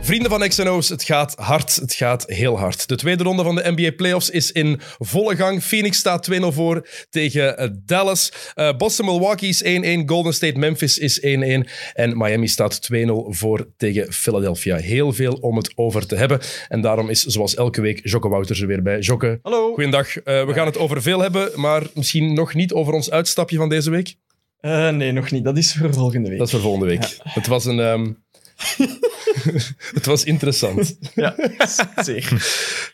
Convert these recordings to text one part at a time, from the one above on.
Vrienden van XNO's, het gaat hard. Het gaat heel hard. De tweede ronde van de NBA Playoffs is in volle gang. Phoenix staat 2-0 voor tegen eh, Dallas. Eh, Boston Milwaukee is 1-1. Golden State Memphis is 1-1. En Miami staat 2-0 voor tegen Philadelphia. Heel veel om het over te hebben. En daarom is, zoals elke week, Jocke Wouters er weer bij. Jocke, Hallo. goeiedag. Eh, we gaan het over veel hebben, maar misschien nog niet over ons uitstapje van deze week. Eh, nee, nog niet. Dat is voor volgende week. Dat is voor volgende week. Het was een... ehm, het was interessant. Ja, zeker.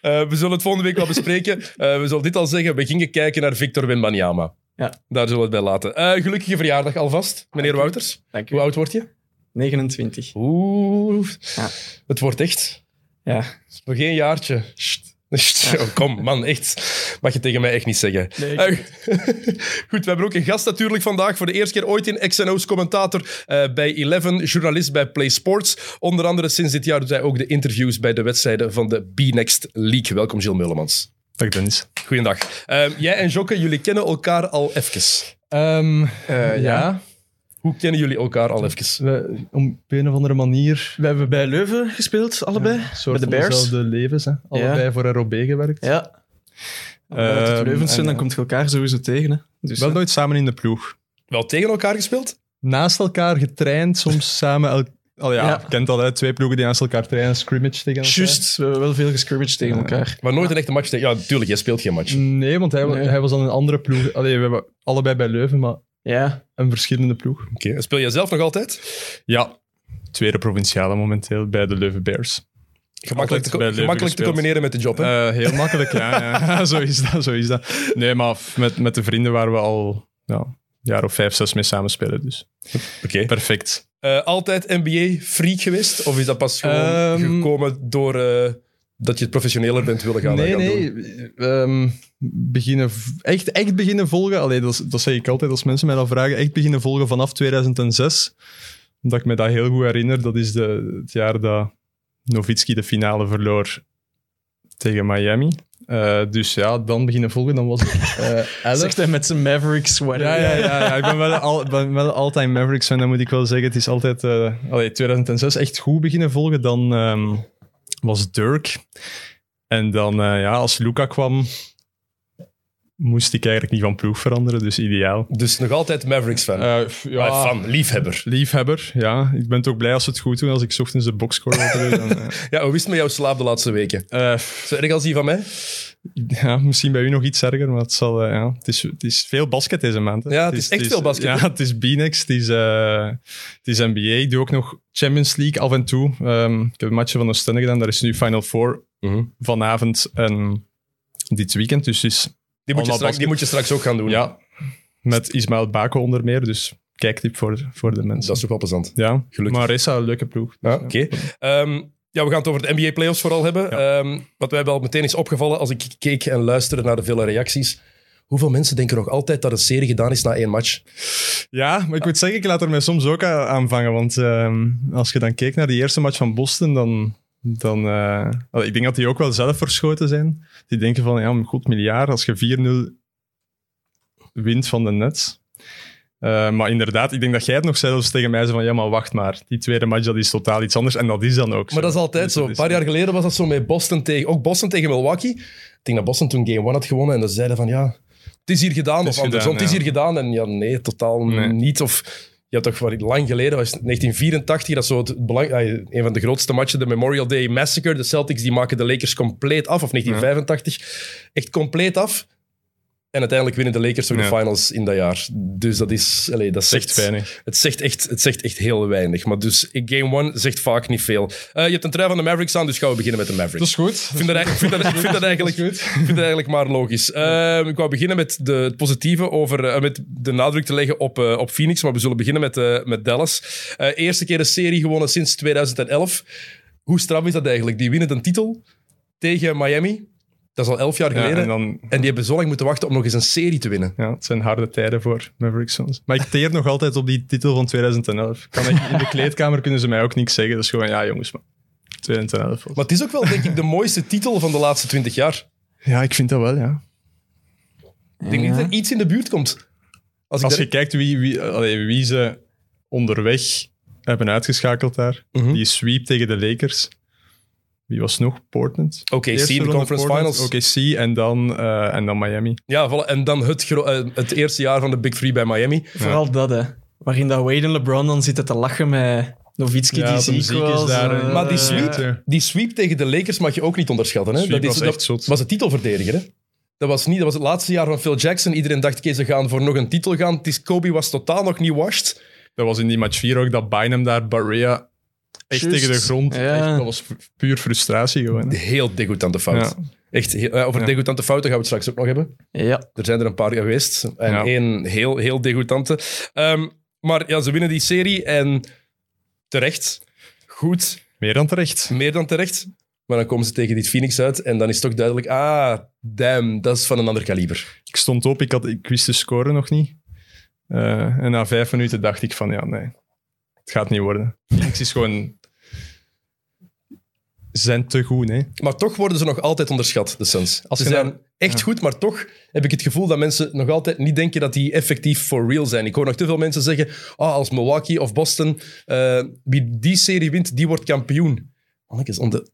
Eh, we zullen het volgende week wel bespreken. Eh, we zullen dit al zeggen. We gingen kijken naar Victor Wembanyama. Ja. Daar zullen we het bij laten. Eh, gelukkige verjaardag alvast, meneer Dank u. Wouters. Dank u. Hoe oud word je? 29. Oeh. Ja. Het wordt echt. Ja. Nog geen jaartje. Sst. Sst. Oh, kom, man, echt. Mag je tegen mij echt niet zeggen. Nee, ik- Eh, Goed, we hebben ook een gast natuurlijk vandaag. Voor de eerste keer ooit in XNO's commentator eh, bij Eleven, journalist bij Play Sports. Onder andere sinds dit jaar doet hij ook de interviews bij de wedstrijden van de B-Next League. Welkom, Gilles Mullemans. Dag Dennis. Goeiedag. Ehm, jij en Jokke, jullie kennen elkaar al even. ja, Hoe kennen jullie elkaar al even? We, om op een of andere manier. We hebben bij Leuven gespeeld, allebei. een soort bij de Bears. van dezelfde levens. Hè? Allebei voor ROB gewerkt. Ja. Als het Ehm, Leuven zijn, en- dan komt je elkaar sowieso tegen. Hè. Dus, Wel eh, nooit samen in de ploeg. Wel tegen elkaar gespeeld? Naast elkaar getraind, soms samen. El- al ja, Ja. je kent al hè, twee ploegen die naast elkaar trainen, scrimmage tegen elkaar. Juist, we hebben wel veel gescrimmaged tegen elkaar. Maar nooit een echte match tegen... Ja, natuurlijk, jij speelt geen match. Nee, want hij, wa- Nee. hij was dan een andere ploeg. Allee, we hebben allebei bij Leuven, maar Ja. een verschillende ploeg. Oké. Speel jij zelf nog altijd? Ja, tweede provinciale momenteel bij de Leuven Bears. Gemakkelijk, te, bij Leuven gemakkelijk te gespeeld. combineren met de job, hè? Eh, heel makkelijk, ja, ja. Zo is dat, zo is dat. Nee, maar f- met, met de vrienden waar we al ja, een jaar of vijf, zes mee samenspelen. Dus Oké. perfect. Eh, altijd NBA-freak geweest? Of is dat pas gewoon Ehm. gekomen door... eh, dat je het professioneler bent willen gaan, nee, gaan doen? nee. ehm, beginnen, v- echt, echt beginnen volgen. Allee, dat, is- dat zeg ik altijd als mensen mij dat vragen. Echt beginnen volgen vanaf 2006. Omdat ik me dat heel goed herinner. Dat is de, het jaar dat Novitski de finale verloor tegen Miami. Eh, dus ja, dan beginnen volgen. Dan was ik eh elf. Zegt hij met zijn Maverick sweater. Ja, ja, ja, ja. Ik ben wel, al, ben wel all-time Mavericks fan, dat moet ik wel zeggen. Het is altijd... eh allee, 2006 echt goed beginnen volgen. Dan ehm, was Dirk. En dan, eh, ja, als Luca kwam, moest ik eigenlijk niet van ploeg veranderen. Dus ideaal. Dus nog altijd Mavericks-fan. Eh, f- ja, Ah, fan, liefhebber. Liefhebber, ja. Ik ben toch blij als ze het goed doen. Als ik 's ochtends de boxscore open doe, dan, eh, Ja, hoe is het met jouw slaap de laatste weken? eh, Zo erg als die van mij? ja, misschien bij u nog iets erger, maar het, zal, eh, ja, het, is, het is veel basket deze maand. hè. Ja, het is echt veel basket, Ja, hè? het is B-Next, het, is, eh, het is NBA. Ik doe ook nog Champions League af en toe. Ehm, ik heb een matchje van Oostende gedaan, daar is nu Final Four vanavond en dit weekend. Dus het is, Die, moet je Allemaal straks, die basket. moet je straks ook gaan doen. ja, met Ismaël Bako onder meer, dus kijktip voor, voor de mensen. Dat is toch wel plezant. ja, gelukkig. Maar Ressa, een leuke ploeg. Dus, Ja, oké. Ehm, ja, we gaan het over de NBA playoffs vooral hebben. Ehm, wat mij wel meteen is opgevallen als ik keek en luisterde naar de vele reacties. Hoeveel mensen denken nog altijd dat een serie gedaan is na één match? Ja, maar ik moet zeggen, ik laat er mij soms ook aan- aanvangen. Want ehm, als je dan keek naar die eerste match van Boston, dan... dan eh, allee, ik denk dat die ook wel zelf verschoten zijn. Die denken van, ja, mijn god, miljard, als je 4-0 wint van de Nets. Eh, maar inderdaad, ik denk dat jij het nog zelfs tegen mij zei van, ja, maar wacht maar. Die tweede match, dat is totaal iets anders. En dat is dan ook zo. Maar dat is altijd Dus zo. dat Een is- paar jaar geleden was dat zo met Boston tegen... Ook Boston tegen Milwaukee. Ik denk dat Boston toen Game 1 had gewonnen en dan zeiden van ja, het is hier gedaan. is of andersom, gedaan, het is ja. hier gedaan. En ja, nee, totaal Nee. niet. Of... Ja, toch wat lang geleden, was het 1984, dat is zo het belang, ah, een van de grootste matchen, de Memorial Day Massacre. De Celtics die maken de Lakers compleet af, of 1985. Echt compleet af. En uiteindelijk winnen de Lakers ook de Ja. finals in dat jaar. Dus dat is... Allee, dat is Echt weinig. het zegt, echt, het zegt echt heel weinig. Maar dus Game 1 zegt vaak niet veel. Eh, je hebt een trui van de Mavericks aan, dus gaan we beginnen met de Mavericks. goed. Ik vind dat, eigenlijk- ik vind dat, ik vind dat eigenlijk, ik vind dat eigenlijk maar logisch. Ehm, ik wou beginnen met de, het positieve over, eh, met de nadruk te leggen op, eh, op Phoenix, maar we zullen beginnen met, eh, met Dallas. Eh, eerste keer een serie gewonnen sinds 2011. Hoe straf is dat eigenlijk? Die winnen een titel tegen Miami. Dat is al elf jaar Ja, geleden. en en, dan die hebben zo lang moeten wachten om nog eens een serie te winnen. Ja, het zijn harde tijden voor Mavericks soms. Maar ik teer nog altijd op die titel van 2011. Kan ik, in de kleedkamer kunnen ze mij ook niks zeggen. Dat is gewoon, ja jongens, maar 2011 was- Maar het is ook wel, denk ik, de mooiste titel van de laatste twintig jaar. Ja, ik vind dat wel, ja. Ik denk niet dat er iets in de buurt komt. Als ik Als daar- je kijkt wie, wie, allee, wie ze onderweg hebben uitgeschakeld daar. Mhm. Die sweep tegen de Lakers. Wie was nog? Portland? Oké, Eerste zie je in de ronde conference Portland, finals. OKC en dan, eh, en dan Miami. Ja, voilà. en dan het, gro- eh, het eerste jaar van de Big Three bij Miami. Vooral dat, hè. Waarin dat Wade en LeBron dan zitten te lachen met Nowitzki, Ja, die dat hem ziek ziek is was. daar, eh, hè. Maar die ja. sweep, die sweep tegen de Lakers mag je ook niet onderschatten. Hè? Sweep dat is, was dat echt zot. was de titelverdediger. Hè? Dat, was niet, dat was het laatste jaar van Phil Jackson. Iedereen dacht, oké, ze gaan voor nog een titel gaan. Het is, Kobe was totaal nog niet washed. Dat was in die match 4 ook, dat Bynum daar Barrea echt Juist. tegen de grond. Ja. echt, dat was pu- puur frustratie gewoon. hè. Heel degoutante fout. Echt, heel- eh, over Ja. degoutante fouten gaan we het straks ook nog hebben. Ja, Er zijn er een paar geweest. En Ja. één heel, heel degoutante. Ehm, maar ja, ze winnen die serie en terecht. Goed. Meer dan terecht. Meer dan terecht. Maar dan komen ze tegen die Phoenix uit en dan is toch duidelijk, ah, damn, dat is van een ander kaliber. Ik stond op, ik, had, ik wist de score nog niet. Eh, en na vijf minuten dacht ik van, ja, nee. Het gaat niet worden. Phoenix is gewoon... ze zijn te goed, hè. Maar toch worden ze nog altijd onderschat, de Suns. Ze je zijn dan- echt goed, maar toch heb ik het gevoel dat mensen nog altijd niet denken dat die effectief for real zijn. Ik hoor nog te veel mensen zeggen, ah, als Milwaukee of Boston, eh, wie die serie wint, die wordt kampioen. Mannetjes, onder...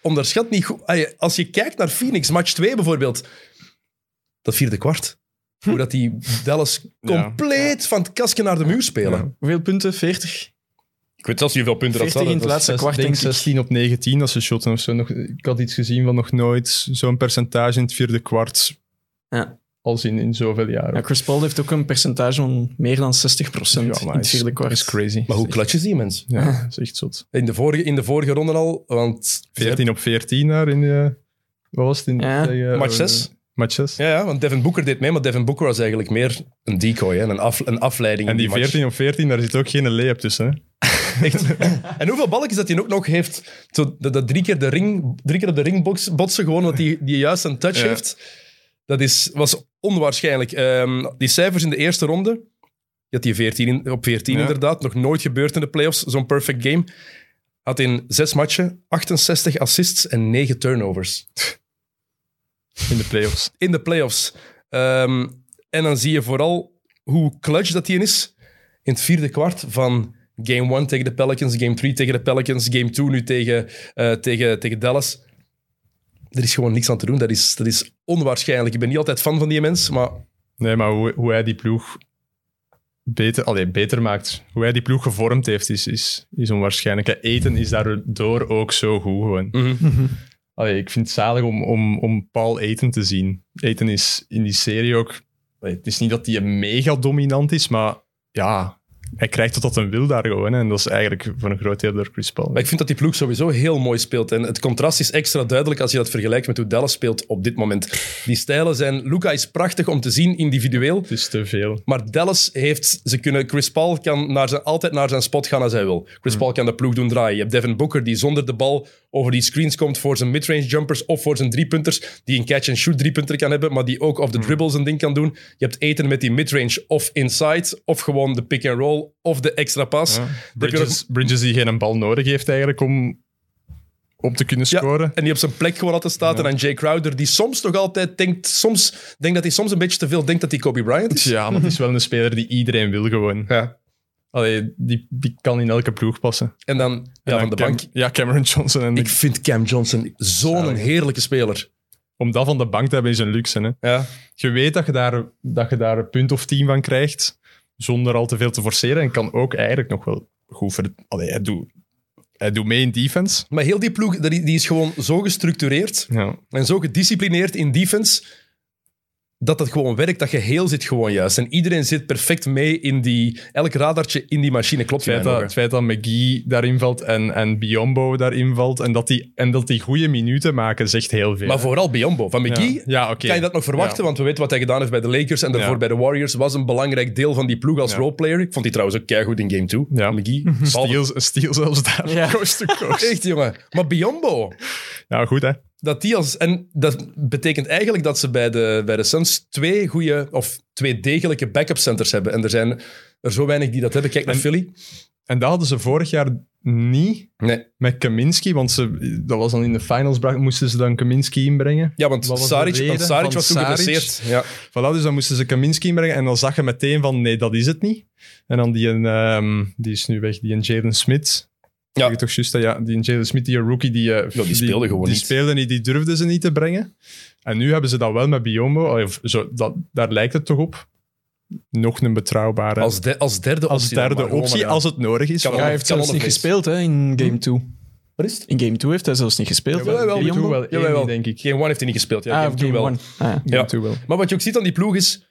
onderschat niet goed. Ah, je- Als je kijkt naar Phoenix, match 2 bijvoorbeeld, dat vierde kwart. Hoe dat die Dallas Ja. compleet van het kasken naar de muur spelen. Ja. hoeveel punten? 40? Ik weet zelfs niet hoeveel punten 40 in het laatste Zes- kwart, denk denk ik ik. 16 op 19 als ze shotten of zo. Nog, ik had iets gezien van nog nooit zo'n percentage in het vierde kwart. Ja. Als in, in zoveel jaren. Ja, Chris Paul heeft ook een percentage van meer dan 60% in maar het is- vierde is kwart. crazy. Maar hoe klutjes die mensen? Ja, dat is echt zot. In de vorige, in de vorige ronde al, want... 14 op 14 daar in de... Wat was het? In, Ja. tegen- eh, Match zes. Match 6. Ja, ja, want Devin Booker deed mee, maar Devin Booker was eigenlijk meer een decoy, hè, een, af, een afleiding. En in die match. 14 op 14, daar zit ook geen layup tussen. Hè? Echt. En hoeveel balkjes dat hij ook nog heeft, zo dat, dat drie, keer de ring, drie keer op de ring box- botsen, gewoon omdat hij die juist een touch Ja. heeft. Dat is, was onwaarschijnlijk. Ehm, die cijfers in de eerste ronde, je had die 14 in- op 14 Ja. inderdaad, nog nooit gebeurd in de playoffs, zo'n perfect game. Had in zes matchen 68 assists en 9 turnovers. In de playoffs. in de playoffs. Ehm, en dan zie je vooral hoe clutch dat hij is in het vierde kwart van game 1 tegen de Pelicans, game 3 tegen de Pelicans, game 2 nu tegen, eh, tegen, tegen Dallas. Er is gewoon niks aan te doen. Dat is, dat is onwaarschijnlijk. Ik ben niet altijd fan van die mens, maar Nee, maar hoe, hoe hij die ploeg beter, allee, beter maakt, hoe hij die ploeg gevormd heeft, is, is, is onwaarschijnlijk. Hè. Eten is daardoor ook zo goed gewoon. Mhm. Allee, ik vind het zalig om, om, om Paul Eten te zien. Eten is in die serie ook... allee, het is niet dat hij mega dominant is, maar ja... Hij krijgt tot dat een wil daar gewoon. hè. En dat is eigenlijk voor een groot deel door Chris Paul. Maar ik vind dat die ploeg sowieso heel mooi speelt. En het contrast is extra duidelijk als je dat vergelijkt met hoe Dallas speelt op dit moment. Die stijlen zijn... Luca is prachtig om te zien individueel. Het is te veel. Maar Dallas heeft, ze kunnen, Chris Paul kan naar zijn, altijd naar zijn spot gaan als hij wil. Chris Paul kan de ploeg doen draaien. Je hebt Devin Booker die zonder de bal over die screens komt voor zijn midrange jumpers of voor zijn driepunters. Die een catch-and-shoot driepunter kan hebben, maar die ook op de Hmm. dribbles een ding kan doen. Je hebt Eten met die midrange of inside, of gewoon de pick-and-roll of de extra pas. Dan heb je nog- Bridges, Bridges die geen bal nodig heeft eigenlijk om op te kunnen Ja, scoren. en die op zijn plek gewoon altijd staat. En dan Jay Crowder, die soms toch altijd denkt, soms denkt dat hij soms een beetje te veel denkt dat hij Kobe Bryant is. Ja, maar het is wel een speler die iedereen wil gewoon. Ja. Allee, die, die kan in elke ploeg passen. En En dan ja, dan van de Cam- bank. Ja, Cameron Johnson. En Ik vind Cam Johnson zo'n heerlijke speler. Om dat van de bank te hebben is een luxe. Hè? Ja. Je weet dat je, daar, dat je daar een punt of tien van krijgt, zonder al te veel te forceren. En kan ook eigenlijk nog wel goed... Ver... Allee, hij doet hij doet mee in defense. Maar heel die ploeg dat- die is gewoon zo gestructureerd Ja. en zo gedisciplineerd in defense, dat dat gewoon werkt. Dat geheel zit gewoon juist. En iedereen zit perfect mee in die... Elk radartje in die machine klopt. Het feit, in mijn dat, het ogen. feit dat McGee daarin valt en, en Biombo daarin valt en dat, die, en dat die goede minuten maken, zegt heel veel. Maar vooral Biombo. Van Ja, McGee ja oké. kan je dat nog verwachten, want we weten wat hij gedaan heeft bij de Lakers en daarvoor Ja. bij de Warriors. Was een belangrijk deel van die ploeg als Ja. roleplayer. Ik vond die trouwens ook keigoed in game 2. Ja. McGee. Behalve- Steel, steel zelfs daar. Ja. Coast to coast. Echt, jongen. Maar Biombo... Ja, goed hè. dat die als. En dat betekent eigenlijk dat ze bij de, bij de Suns twee goede of twee degelijke backup centers hebben. En er zijn er zo weinig die dat hebben. Kijk naar En- Philly. En dat hadden ze vorig jaar niet Nee. met Kaminski, want ze, dat was dan in de finals, bra- moesten ze dan Kaminski inbrengen. Ja, want Wat was de Saric, reden want Saric van was toen Saric? geblesseerd. Ja. Voilà, dus dan moesten ze Kaminski inbrengen en dan zag je meteen van, nee, dat is het niet. En dan die, een, ehm, die is nu weg, die een Jalen Smith. Ja. Zeg ik toch juist, dat, ja, die een Jalen Smith, die een rookie, die, eh, die speelde gewoon die niet. speelde niet, die durfden ze niet te brengen. En nu hebben ze dat wel met Biombo, Allee, of zo, dat, daar lijkt het toch op. Nog een betrouwbare, als, Als, de- als derde optie. dan derde maar gewoon, optie, ja. als het nodig Kan is. Ja, Hij wel. hij heeft zelfs niet Kanonnenfeest. gespeeld hè, in Game 2. Wat is het? In Game 2 heeft hij zelfs niet gespeeld. Jawel, hè, jawel, Biombo. Game 2 wel. Jawel, Eén, wel. denk ik. Game 1 heeft hij niet gespeeld. Ja, Ah, Game of 2 Game wel. 1. Ah, ja. Ja. heeft wel. Maar wat je ook ziet aan die ploeg is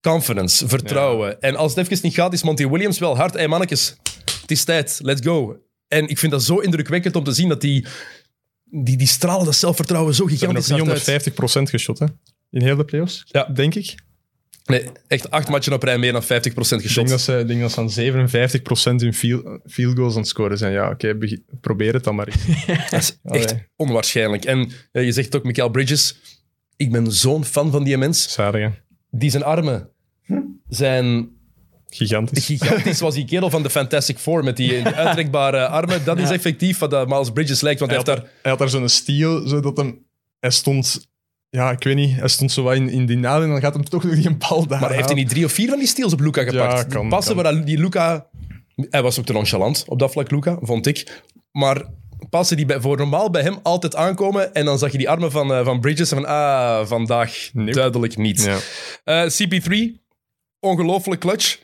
confidence, vertrouwen. En als het even niet gaat, is Monty Williams wel hard. Hey mannetjes, het is tijd, let's go. En ik vind dat zo indrukwekkend om te zien dat die, die, die stralen dat zelfvertrouwen zo Ze gigantisch hebben hard nog uit. 350% geschot, hè? In heel de playoffs, Ja. denk ik. Nee, echt acht matchen op rij meer dan 50% Ik denk dat geschot. ze, ik denk dat ze aan 57% hun field, field goals aan het scoren zijn. Ja, oké, begi- probeer het dan maar. eens. Dat is echt onwaarschijnlijk. En ja, je zegt het ook, Michael Bridges, ik ben zo'n fan van die mens. Zadig, hè. Die zijn armen zijn Gigantisch. gigantisch was die kerel van de Fantastic Four met die, die uittrekbare armen. Dat is effectief wat dat Miles Bridges lijkt, want hij heeft daar... Hij had daar zo'n steel, zodat hem... Hij stond... Ja, ik weet niet. Hij stond zo wat in, in die naad en dan gaat hem toch nog die een bal daar Maar heeft hij aan. niet drie of vier van die steals op Luca gepakt? Ja, Die kan, passen kan. waar dat- die Luca... Hij was ook te nonchalant op dat vlak, Luca, vond ik. Maar passen die bij, voor normaal bij hem altijd aankomen en dan zag je die armen van, eh, van Bridges en van ah, vandaag Nope. duidelijk niet. Ja. Eh, CP3, ongelooflijk clutch.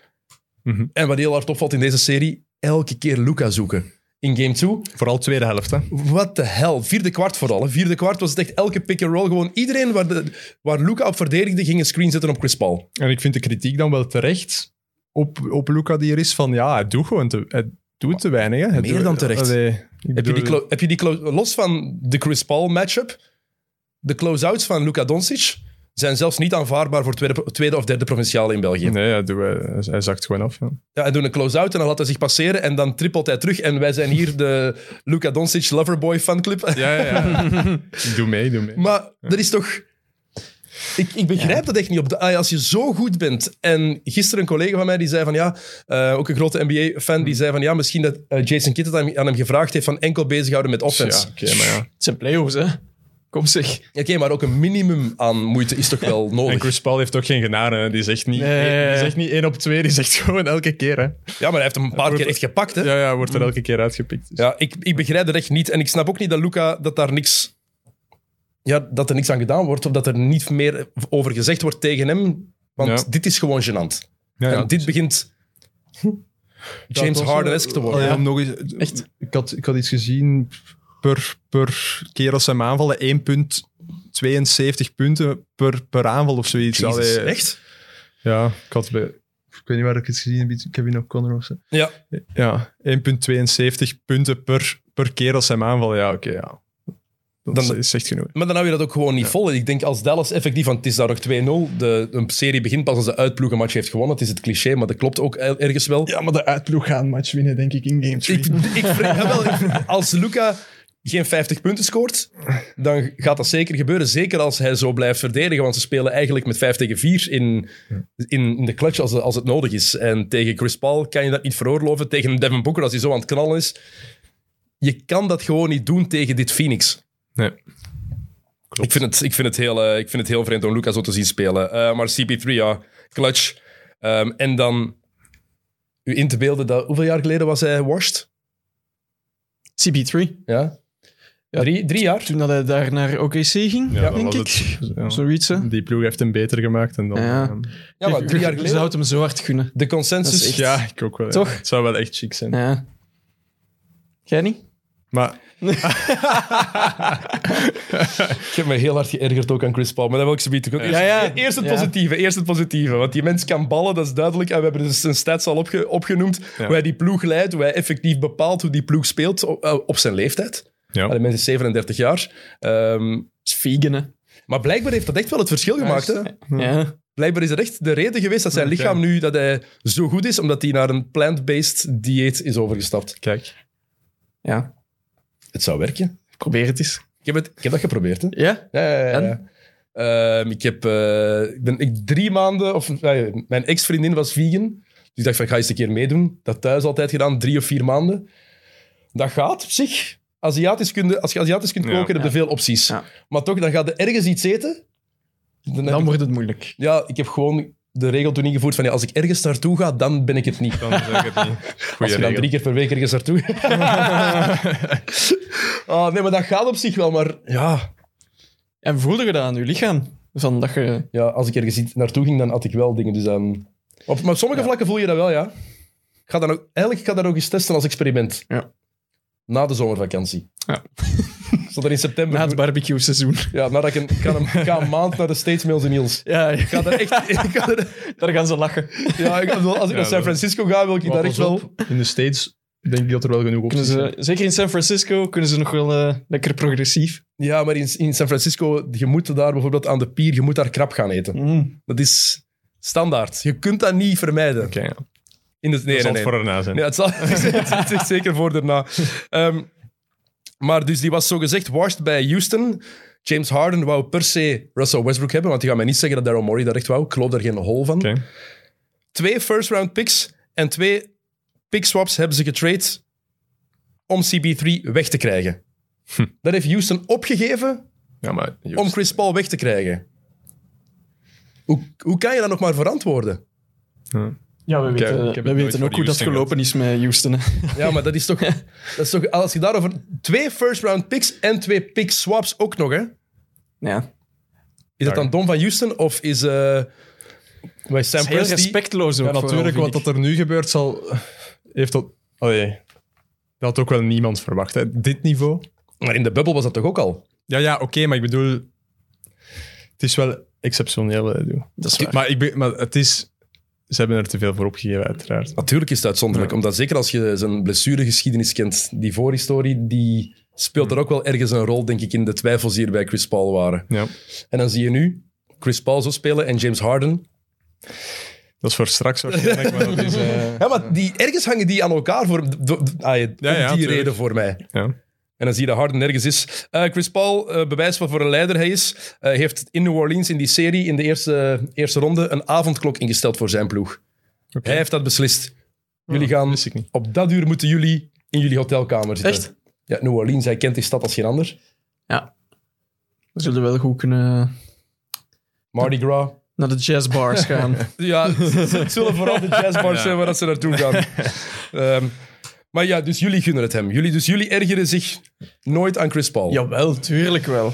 Mhm. En wat heel hard opvalt in deze serie, elke keer Luca zoeken. In game 2 Vooral tweede helft, hè. Wat de hel. Vierde kwart vooral. Hè. Vierde kwart was het echt elke pick-and-roll. Gewoon iedereen waar, de, waar Luca op verdedigde, ging een screen zetten op Chris Paul. En ik vind de kritiek dan wel terecht op, op Luca die er is van... Ja, hij doet gewoon te, hij doet te weinig, hè. Hij Meer doet- dan terecht. Allee, ik Heb je, bedoel- die clo- heb je die clo- los van de Chris Paul matchup, de close-outs van Luca Doncic zijn zelfs niet aanvaardbaar voor tweede, tweede of derde provinciale in België. Nee, hij, doet- hij, hij zakt gewoon af, ja. Ja, hij doet een close-out en dan laat hij zich passeren en dan trippelt hij terug. En wij zijn hier de Luca Doncic Loverboy fanclub. Ja, ja, ja. doe mee, doe mee. Maar dat is toch. Ik, ik begrijp dat echt niet. Op de, ah, als je zo goed bent. En gisteren een collega van mij die zei van ja. eh, ook een grote NBA-fan Hmm. die zei van ja. Misschien dat eh, Jason Kidd het aan, aan hem gevraagd heeft van enkel bezighouden met ja, offense. oké, maar ja. Het zijn playoffs, hè? Kom zeg. Oké, maar ook een minimum aan moeite is toch wel En nodig. Chris Paul heeft ook geen genade. hè. Die zegt niet, Nee. die zegt niet één op twee, die zegt gewoon elke keer. Hè. Ja, maar hij heeft hem een paar keer echt gepakt. Hè? Ja, Ja, ja, wordt er elke keer uitgepikt. Dus. ik, ik begrijp dat echt niet. En ik snap ook niet dat Luca dat daar niks. Ja, dat er niks aan gedaan wordt. Of dat er niet meer over gezegd wordt tegen hem. Want Ja. dit is gewoon gênant. Ja, ja. en dit begint. James Dat was, Harden-esque te worden. eh, Ja. om nog eens, Echt. Ik, had, ik had iets gezien per, per keer als ze hem aanvallen, 1 punt. 72 punten per, per aanval of zoiets. Jezus, Allee, echt? Ja, ik had bij... Ik weet niet waar ik het gezien heb, iets- Kevin O'Connor of zo. Ja. Ja, 1,72 punten per, per keer als ze hem aanvallen. Ja, oké, ja. Dat Dan- is echt genoeg. Maar dan hou je dat ook gewoon niet vol. Ik denk als Dallas effectief, want het is daar nog 2-0. De, een serie begint pas als de uitploeg een match heeft gewonnen. Het is het cliché, maar dat klopt ook el- ergens wel. Ja, maar de uitploeg gaat een match winnen, denk ik, in game Ik, 3. ik, vre- ja, wel, ik vre- als Luca geen 50 punten scoort, dan gaat dat zeker gebeuren. Zeker als hij zo blijft verdedigen, want ze spelen eigenlijk met 5 tegen 4 in, in, in de clutch als, als het nodig is. En tegen Chris Paul kan je dat niet veroorloven. Tegen Devin Booker, als hij zo aan het knallen is. Je kan dat gewoon niet doen tegen dit Phoenix. Nee. Ik vind, het, ik, vind het heel, eh, ik vind het heel vreemd om Luca zo te zien spelen. Eh, maar CP3, ja, clutch. Ehm, en dan u in te beelden dat hoeveel jaar geleden was hij washed? CB3. Ja. Ja. Drie, drie jaar. Toen dat hij daar naar OKC ging, Ja, dat denk ik. was het. Ja. Zoiets, hè? Die ploeg heeft hem beter gemaakt. En dan, Ja. ehm, Ja, maar drie jaar Je zou geleden. het hem zo hard gunnen. De Dat consensus. is echt- ja, ik ook wel. ja. Toch? Het zou wel echt chic zijn. Ja. Jij niet? Maar Ik heb me heel hard geërgerd ook aan Chris Paul. Maar dat wil ik zo bieden. Eerst, Ja, ja. eerst het Ja. positieve, eerst het positieve. Want die mens kan ballen, dat is duidelijk. En we hebben dus zijn stats al opge- opgenoemd. Hoe hij die ploeg leidt, hoe hij effectief bepaalt hoe die ploeg speelt op, eh, op zijn leeftijd. Ja. Maar De mens is 37 jaar. Ehm, Dat is vegan, hè? maar blijkbaar heeft dat echt wel het verschil gemaakt. Hè? Ja. Blijkbaar is dat echt de reden geweest dat zijn lichaam nu dat hij zo goed is, omdat hij naar een plant-based dieet is overgestapt. kijk, ja. Het zou werken. Probeer het eens. Ik heb, het, ik heb dat geprobeerd, hè. Ja? Ja, ja, ja. En? ja. Ehm, ik heb eh, ik ben ik drie maanden, of eh, mijn ex-vriendin was vegan. ik dacht van, ik ga eens een keer meedoen. Dat thuis altijd gedaan, drie of vier maanden. Dat gaat op zich. Aziatisch kunde, als je Aziatisch kunt Ja. koken, heb je veel opties. Ja. Maar toch, dan gaat er ergens iets eten. Dan heb Dan ik- wordt het moeilijk. ja, ik heb gewoon de regel toen ingevoerd van ja, als ik ergens naartoe ga, dan ben ik het niet. Dan zeg ik het niet. Als Goeie je dan regel. drie keer per week ergens naartoe. Ah, nee, maar dat gaat op zich wel, maar ja, En voelde je dat aan je lichaam? Van dat je... ja als ik ergens iets naartoe ging, dan had ik wel dingen. Dus dan... Op, maar op sommige vlakken voel je dat wel, ja. Ik ga dat ook, eigenlijk ga ik dat ook eens testen als experiment. Ja. Na de zomervakantie. Ja. Zodat er in september... Na het barbecue seizoen. Ja, nadat ik, een, ik, ga een, ik ga een maand naar de States Mails in Niels. Ja, Ik ga daar echt... Ik ga daar- daar gaan ze lachen. ja, ik wil- als ik Ja, naar San dat- Francisco ga, wil ik daar echt Wappels wel... op. In de States denk ik dat er wel genoeg Kunnen opties zijn. ze, zeker in San Francisco kunnen ze nog wel eh, lekker progressief. Ja, maar in, in San Francisco, je moet daar bijvoorbeeld aan de pier, je moet daar krap gaan eten. Mm. Dat is standaard. Je kunt dat niet vermijden. Oké, ja. In de, nee, Dat zal het nee, nee. voor erna zijn. Ja, het, zal, het, is, het is zeker voor daarna. Ehm, maar dus die was zogezegd washed bij Houston. James Harden wou per se Russell Westbrook hebben, want die gaat mij niet zeggen dat Daryl Morey dat echt wou. Ik geloof daar geen hol van. Oké. Twee first-round picks en twee pick swaps hebben ze getrade om CB3 weg te krijgen. Hm. Dat heeft Houston opgegeven Ja, maar Joost, om Chris Paul weg te krijgen. Hoe, hoe kan je dat nog maar verantwoorden? Ja, we heb- ik weten, heb het we nooit weten voor ook hoe dat Houston gelopen is met Houston. hè. Ja, maar dat is toch... dat is toch als je daarover... Twee first-round picks en twee pick swaps ook nog, hè? Ja. Is dat dan dom van Houston of is... eh bij Sam Heel Presti... respectloos ook. Ja, vooral, natuurlijk, vind wat ik. dat er nu gebeurt zal... Heeft dat... Allee, dat had ook wel niemand verwacht, hè. Dit niveau. Maar in de bubbel was dat toch ook al? Ja, ja, oké, maar ik bedoel... Het is wel exceptioneel wat hij doet. Dat is waar. Maar, ik, be- maar het is... Ze hebben er te veel voor opgegeven, uiteraard. Natuurlijk is het uitzonderlijk, omdat zeker als je zijn blessuregeschiedenis kent, die voorhistorie, die speelt er ook wel ergens een rol, denk ik, in de twijfels die er bij Chris Paul waren. Ja. En dan zie je nu Chris Paul zo spelen en James Harden Dat is voor straks waarschijnlijk, maar dat is... eh, Ja, maar die, ergens hangen die aan elkaar voor, do- do- ah, ja, om ja, die tuurlijk. reden voor mij. Ja. En dan zie je dat Harden nergens is. Eh, Chris Paul, eh bewijs wat voor een leider hij is, eh, heeft in New Orleans in die serie, in de eerste, eerste ronde, een avondklok ingesteld voor zijn ploeg. Hij heeft dat beslist. Jullie gaan, wist ik niet. op dat uur moeten jullie in jullie hotelkamer zitten. Echt? Ja, New Orleans, hij kent die stad als geen ander. We zullen wel goed kunnen Mardi Gras. naar de jazzbars gaan. Ja, het zullen vooral de jazzbars zijn waar dat ze naartoe gaan. Ehm, maar ja, dus jullie gunnen het hem. Jullie, dus jullie ergeren zich nooit aan Chris Paul. Jawel, tuurlijk wel.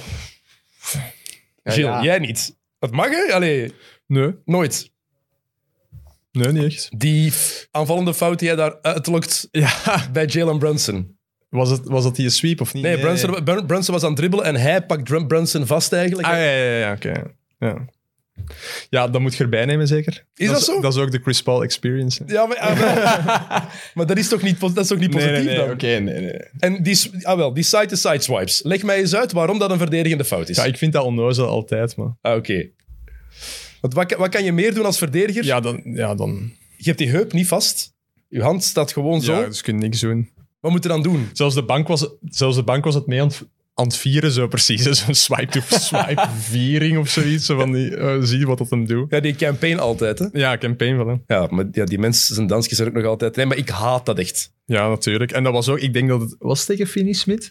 Gilles, ja. jij niet. Dat mag, hè? Allee, Nee, nooit. nee, niet echt. Die f- aanvallende fout die jij daar uitlokt bij Jalen Brunson. Was, het, was dat die sweep of niet? Nee, Brunson, Brun- Brunson was aan het dribbelen en hij pakt Dr- Brunson vast eigenlijk. Ah, ja, ja, ja, oké. Ja. ja, dat moet je erbij nemen, zeker. Is dat zo? Dat is ook de Chris Paul experience. hè. Ja, maar, ah, wel. maar dat is toch niet, pos- dat is toch niet positief dan? nee, nee. En die, s- ah, wel, die side-to-side swipes. Leg mij eens uit waarom dat een verdedigende fout is. Ja, ik vind dat onnozel altijd, maar... Ah, oké. Want wat, kan- wat kan je meer doen als verdediger? Ja, dan... Ja, dan Je hebt die heup niet vast. Je hand staat gewoon zo. ja, dus kun je niks doen. Wat moet je dan doen? Zelfs de bank was, zelfs de bank was het mee aan het, aan het vieren, zo precies. hè. Zo'n swipe-to-swipe viering of zoiets. Zo van die, eh, zie je wat dat hem doet. Ja, die campaign altijd, hè? Ja, campaign wel, hè. Ja, maar ja, die mensen zijn dansjes er ook nog altijd. Nee, maar ik haat dat echt. Ja, natuurlijk. En dat was ook... Ik denk dat het... Was het tegen Finney Smith?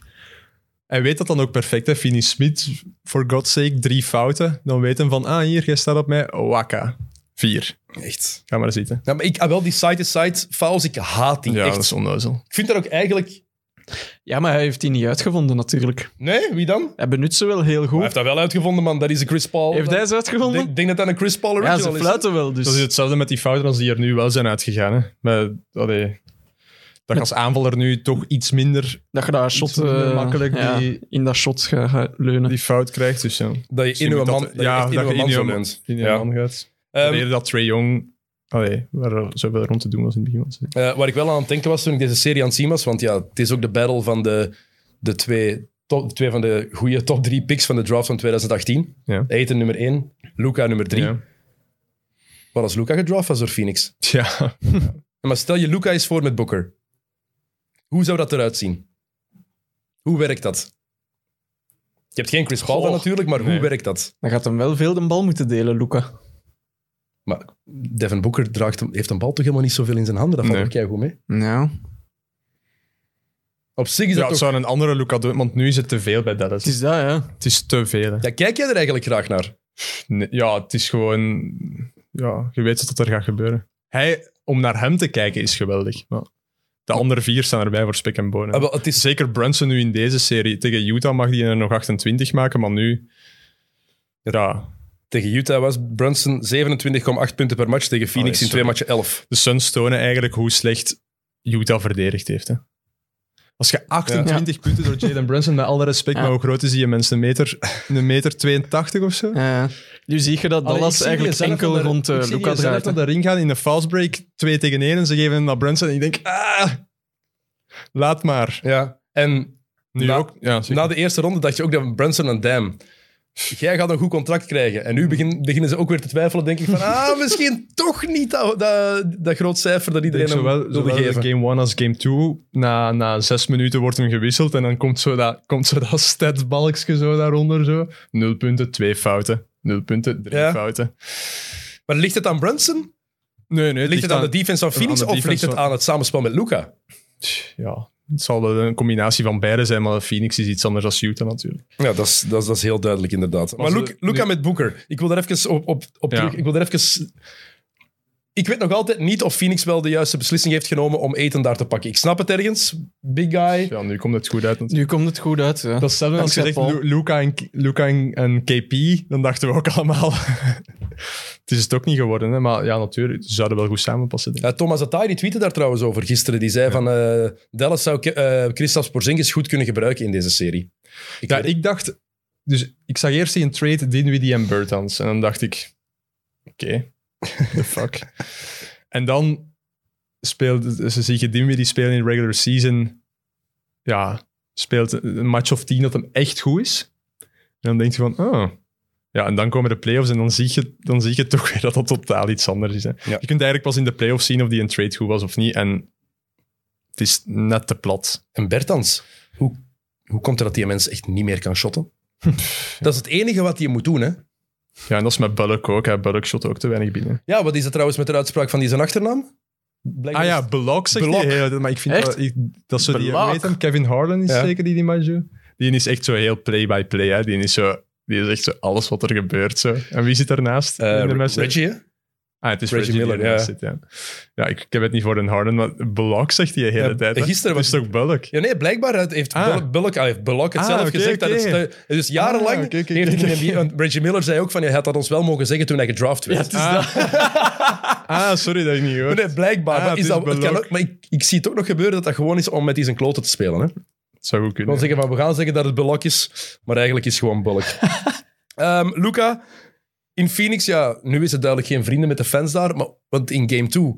Hij weet dat dan ook perfect, hè. Finney Smith, for God's sake, drie fouten. Dan weet hem van, ah, hier, jij staat op mij. Waka. Vier. Echt. Ga maar zitten. Ja, maar ik, ah, wel, die side-to-side fouls, ik haat die Ja, echt. Dus- dat is onnozel. Ik vind dat ook eigenlijk... Ja, maar hij heeft die niet uitgevonden natuurlijk. Nee, wie dan? Hij Hij benut ze wel heel goed. heeft dat wel uitgevonden, man. Dat is een Chris Paul. Heeft hij ze Ik uitgevonden? denk- denk dat dat een Chris Paul Ja, original ze fluiten wel. Dus. Dat is hetzelfde met die fouten als die er nu wel zijn uitgegaan, hè. Maar, allee, dat je als aanvaller nu toch iets minder Dat je daar shot, minder eh, makkelijk ja, die- in dat shot gaat gaat leunen. die fout krijgt. Dus ja. is. Dat je in uw man, dat, je echt in uw man zo bent. in je Ja. man gaat. Ehm, Probeer dat Trae Young... Allee, waar er zoveel rond te doen was in het begin. was. eh, waar ik wel aan het denken was toen ik deze serie aan het zien was, want ja, het is ook de battle van de, de twee, top, twee van de goede top drie picks van de draft van 2018. Ja. Ayton nummer één, Luca nummer drie. Ja. Wat als Luca gedraft was door Phoenix? Ja. Ja, Maar stel je Luca is voor met Booker. Hoe zou dat eruit zien? Hoe werkt dat? Je hebt geen Chris Paul dan Goh. natuurlijk, maar hoe Nee. werkt dat? Dan gaat hem wel veel de bal moeten delen, Luca. Maar Devin Booker draagt, hem- heeft een bal toch helemaal niet zoveel in zijn handen? Dat valt Nee. ook keigoed mee. Ja. Op zich is Ja, dat het toch... zou een andere Luca doen, want nu is het te veel bij Dallas. Het is dat, ja. Het is te veel. hè. Ja, kijk jij er eigenlijk graag naar? Nee, ja, het is gewoon... Ja, je weet wat er gaat gebeuren. Hij, om naar hem te kijken is geweldig. Maar de andere vier staan erbij voor spek en bonen. Ah, wel, het is... Zeker Brunson nu in deze serie. Tegen Utah mag hij er nog 28 maken, maar nu... Ja, Tegen Utah was Brunson 27,8 punten per match. Tegen Phoenix Allee, in twee sorry. matchen 11. de Suns tonen eigenlijk hoe slecht Utah verdedigd heeft. Hè. Als je 28 punten door Jalen Brunson, met alle respect, Ja. maar hoe groot is die mens? Een meter, een meter 82 of zo? ja. Nu zie je dat Dallas eigenlijk enkel rond eh, Luca draait. naar de ring gaan in de fastbreak, 2 tegen 1, en ze geven hem naar Brunson. En ik denk, ah, laat maar. Ja. En Nu Na- ook. Ja, zeker. na de eerste ronde dacht je ook dat Brunson en Dam... Jij gaat een goed contract krijgen. En nu begin- beginnen ze ook weer te twijfelen, denk ik. Van, ah, misschien toch niet dat, dat, dat groot cijfer dat Ik iedereen denk hem zowel, wilde zowel geven. game 1 als game 2, na, na zes minuten wordt hem gewisseld en dan komt zo dat, komt zo dat statbalkje zo daaronder. Zo. Nul punten, twee fouten. Nul punten, drie Ja. fouten. Maar ligt het aan Brunson? Nee, nee, Ligt het aan de defense van aan de Phoenix? Of defense ligt het van- aan het samenspel met Luca? Ja, het zal wel een combinatie van beide zijn, maar Phoenix is iets anders dan Utah natuurlijk. Ja, dat is, dat is, dat is heel duidelijk, inderdaad. Maar ze- Luca, Luca met Booker. Ik wil daar even op, op, op Ja. terug. Ik wil daar even... Ik weet nog altijd niet of Phoenix wel de juiste beslissing heeft genomen om eten daar te pakken. Ik snap het ergens. Big guy. Ja, nu komt het goed uit. natuurlijk. Nu komt het goed uit, ja. Dat is hetzelfde als je Dankzij zegt Lu- Luca en, Luca en, en KP, dan dachten we ook allemaal. het is het ook niet geworden, hè? maar ja, natuurlijk, ze zouden wel goed samenpassen. denk ik. Ja, Thomas Atai die tweette daar trouwens over gisteren. Die zei van... eh, Dallas zou eh Christophe Porzingis goed kunnen gebruiken in deze serie. Ik Ja, weet- ik dacht, dus ik zag eerst die een trade Dinwiddie en Bertans. En dan dacht ik, oké, the fuck. en dan speelde, ze zie je Dinwiddie spelen in regular season. Ja, speelt een match of tien dat hem echt goed is. En dan denk je van, oh. Ja, en dan komen de playoffs en dan zie je, dan zie je toch weer dat dat totaal iets anders is. Hè. Je kunt eigenlijk pas in de playoffs zien of die een trade goed was of niet. En het is net te plat. En Bertans, hoe, hoe komt het dat die mens echt niet meer kan shotten? dat is het enige wat hij moet doen, hè? Ja, en dat is met Bullock ook. Hè. Bullock shot ook te weinig binnen. Ja, wat is dat trouwens met de uitspraak van die zijn achternaam? Ah Blijkbaar ja, Belok zegt Belok. die hele tijd, Maar ik vind Echt? dat, ik- dat zo die, Belok. weet hem, Kevin Harlan is Ja. zeker die die match doet. Die is echt zo heel play-by-play. hè. die, is zo, die is echt zo alles wat er gebeurt. Zo. En wie zit daarnaast? is- eh, in de match? Reggie, hè? Ah, het is Reggie Reggie, Miller, Miller. ja. Zit, ja, ja ik, ik heb het niet voor een Harlan, maar Belok zegt die de hele Ja, tijd. hè. gisteren Het is toch Bullock? Ja, nee, blijkbaar heeft Ah. Bullock, Bullock, ah, heeft Bullock het Ah, zelf oké, gezegd. Dat het, oké. stu- dus jarenlang Ah, oké, oké, heeft oké, hij oké. die- want Reggie Miller zei ook van, je had dat ons wel mogen zeggen toen hij gedraft werd. Ah, sorry dat ik niet hoor. Nee, blijkbaar. Ah, maar het is is dat, het kan Bullock. ook, maar ik, ik zie het ook nog gebeuren dat dat gewoon is om met die zijn kloten te spelen. Hè? Het zou goed Gewoon kunnen. zeggen van, we gaan zeggen dat het Bullock is, maar eigenlijk is het gewoon Bullock. Ehm, Luca, in Phoenix, ja, nu is het duidelijk geen vrienden met de fans daar, maar, want in game 2,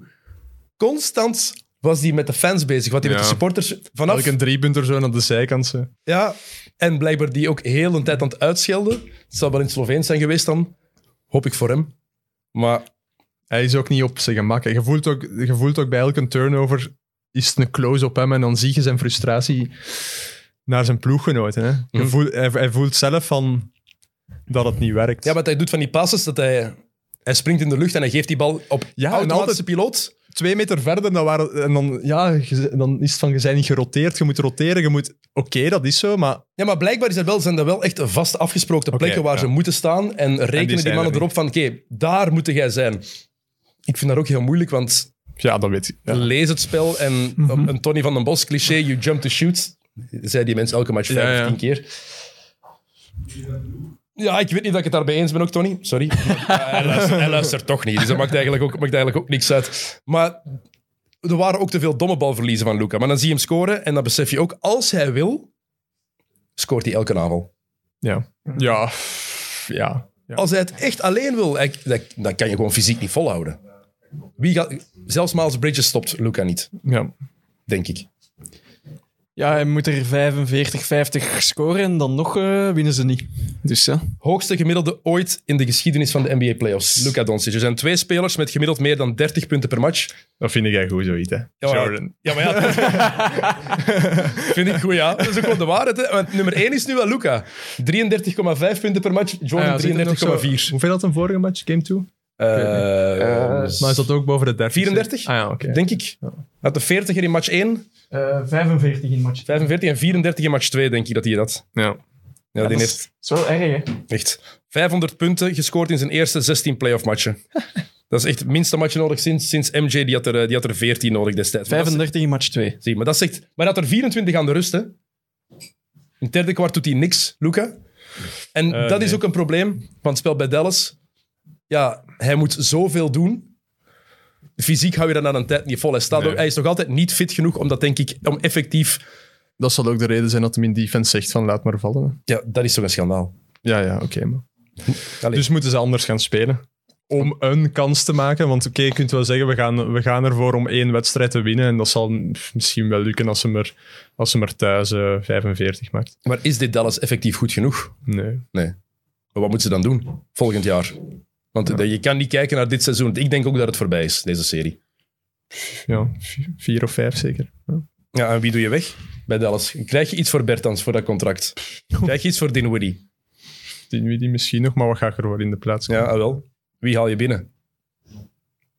constant was hij met de fans bezig, wat hij met Ja. de supporters vanaf... Eigenlijk een driepunter zo aan de zijkant. zo. Ja, en blijkbaar die ook heel een tijd aan het uitschelden. Het zal wel in het Sloveens zijn geweest dan, hoop ik voor hem. Maar Hij is ook niet op zijn gemak. hè. Je voelt ook, je voelt ook bij elke turnover is het een close op hem en dan zie je zijn frustratie naar zijn ploeggenoten. Hè? Je Mhm. voelt, hij, hij voelt zelf van dat het niet werkt. ja, wat hij doet van die passes, dat hij... Hij springt in de lucht en hij geeft die bal op Ja, en automatische altijd- piloot. Twee meter verder, dan, waren, en dan, ja, je- dan is het van, je bent niet geroteerd, je moet roteren, je moet... Oké, dat is zo, maar Ja, maar blijkbaar is dat wel, zijn dat wel echt vast afgesproken plekken waar ja. ze moeten staan. En rekenen zijn die, er mannen niet. erop van, oké, daar moet jij zijn. Ik vind dat ook heel moeilijk, want ja, dat weet ik. Ja. Mhm. lees het spel en een Tony van den Bos cliché, you jump to shoot, zei die mensen elke match vijf Ja, of ja. tien keer. Ja, ik weet niet dat ik het daarbij eens ben ook, Tony. Sorry. Maar hij, luistert, hij luistert toch niet, dus dat maakt eigenlijk ook, maakt eigenlijk ook niks uit. Maar er waren ook te veel domme balverliezen van Luca. Maar dan zie je hem scoren en dan besef je ook, als hij wil, scoort hij elke avond. Ja. Ja. ja. ja. Als hij het echt alleen wil, hij- dat- dan kan je gewoon fysiek niet volhouden. Wie gaat, zelfs Miles Bridges stopt Luca niet, ja. denk ik. Ja, hij moet er 45, 50 scoren en dan nog eh, winnen ze niet. Dus ja. Hoogste gemiddelde ooit in de geschiedenis van de NBA playoffs. Luca Doncic. Er zijn twee spelers met gemiddeld meer dan 30 punten per match. Dat vind ik echt goed, zoiets. Hè. maar- Jordan. Ja, maar ja. vind ik goed, ja. Dat is ook gewoon de waarheid. Hè. Want nummer 1 is nu wel Luca. 33,5 punten per match. Jordan Ah ja, zit er nog zo- 33,4. Hoeveel had hem vorige match, game 2? Eh, Maar is dat ook boven de 30? 34? Ah ja, oké. Denk ik. Uit de 40 er in match 1, 45 Eh, in match. 45 en 34 in match 2, denk ik dat hij dat. Ja. Ja, die dat is- heeft Dat is wel erg, hè? echt 500 punten gescoord in zijn eerste 16 playoff matchen. dat is echt het minste matje nodig sinds, sinds MJ. Die had, er, eh, die had er 14 nodig destijds. Maar dat is- 35 in match 2. Zie, maar dat zegt... Maar hij had er 24 aan de rust, hè. In het derde kwart doet hij niks, Luca. En Eh, dat is nee. ook een probleem van het spel bij Dallas. Ja, hij moet zoveel doen. Fysiek hou je dat aan een tijd niet vol. Hij, staat Nee. ook- hij is nog altijd niet fit genoeg om dat, denk ik, om effectief... Dat zal ook de reden zijn dat hem in defense zegt van laat maar vallen. hè. Ja, dat is toch een schandaal. Ja, ja, oké. maar. Allee. Dus moeten ze anders gaan spelen. Om een kans te maken. Want oké, je kunt wel zeggen, we gaan, we gaan ervoor om één wedstrijd te winnen. En dat zal pff, misschien wel lukken als ze maar, als ze maar thuis eh, 45 maakt. Maar is dit Dallas effectief goed genoeg? Nee. Maar wat moeten ze dan doen volgend jaar? Want eh, je kan niet kijken naar dit seizoen. Ik denk ook dat het voorbij is, deze serie. Ja, vi- vier of vijf zeker. Ja. Ja, en wie doe je weg bij Dallas? Krijg je iets voor Bertans voor dat contract? Krijg je iets voor Dinwiddie? Die, die misschien nog, maar wat ga ik ervoor in de plaats Ja, ah wel. Wie haal je binnen?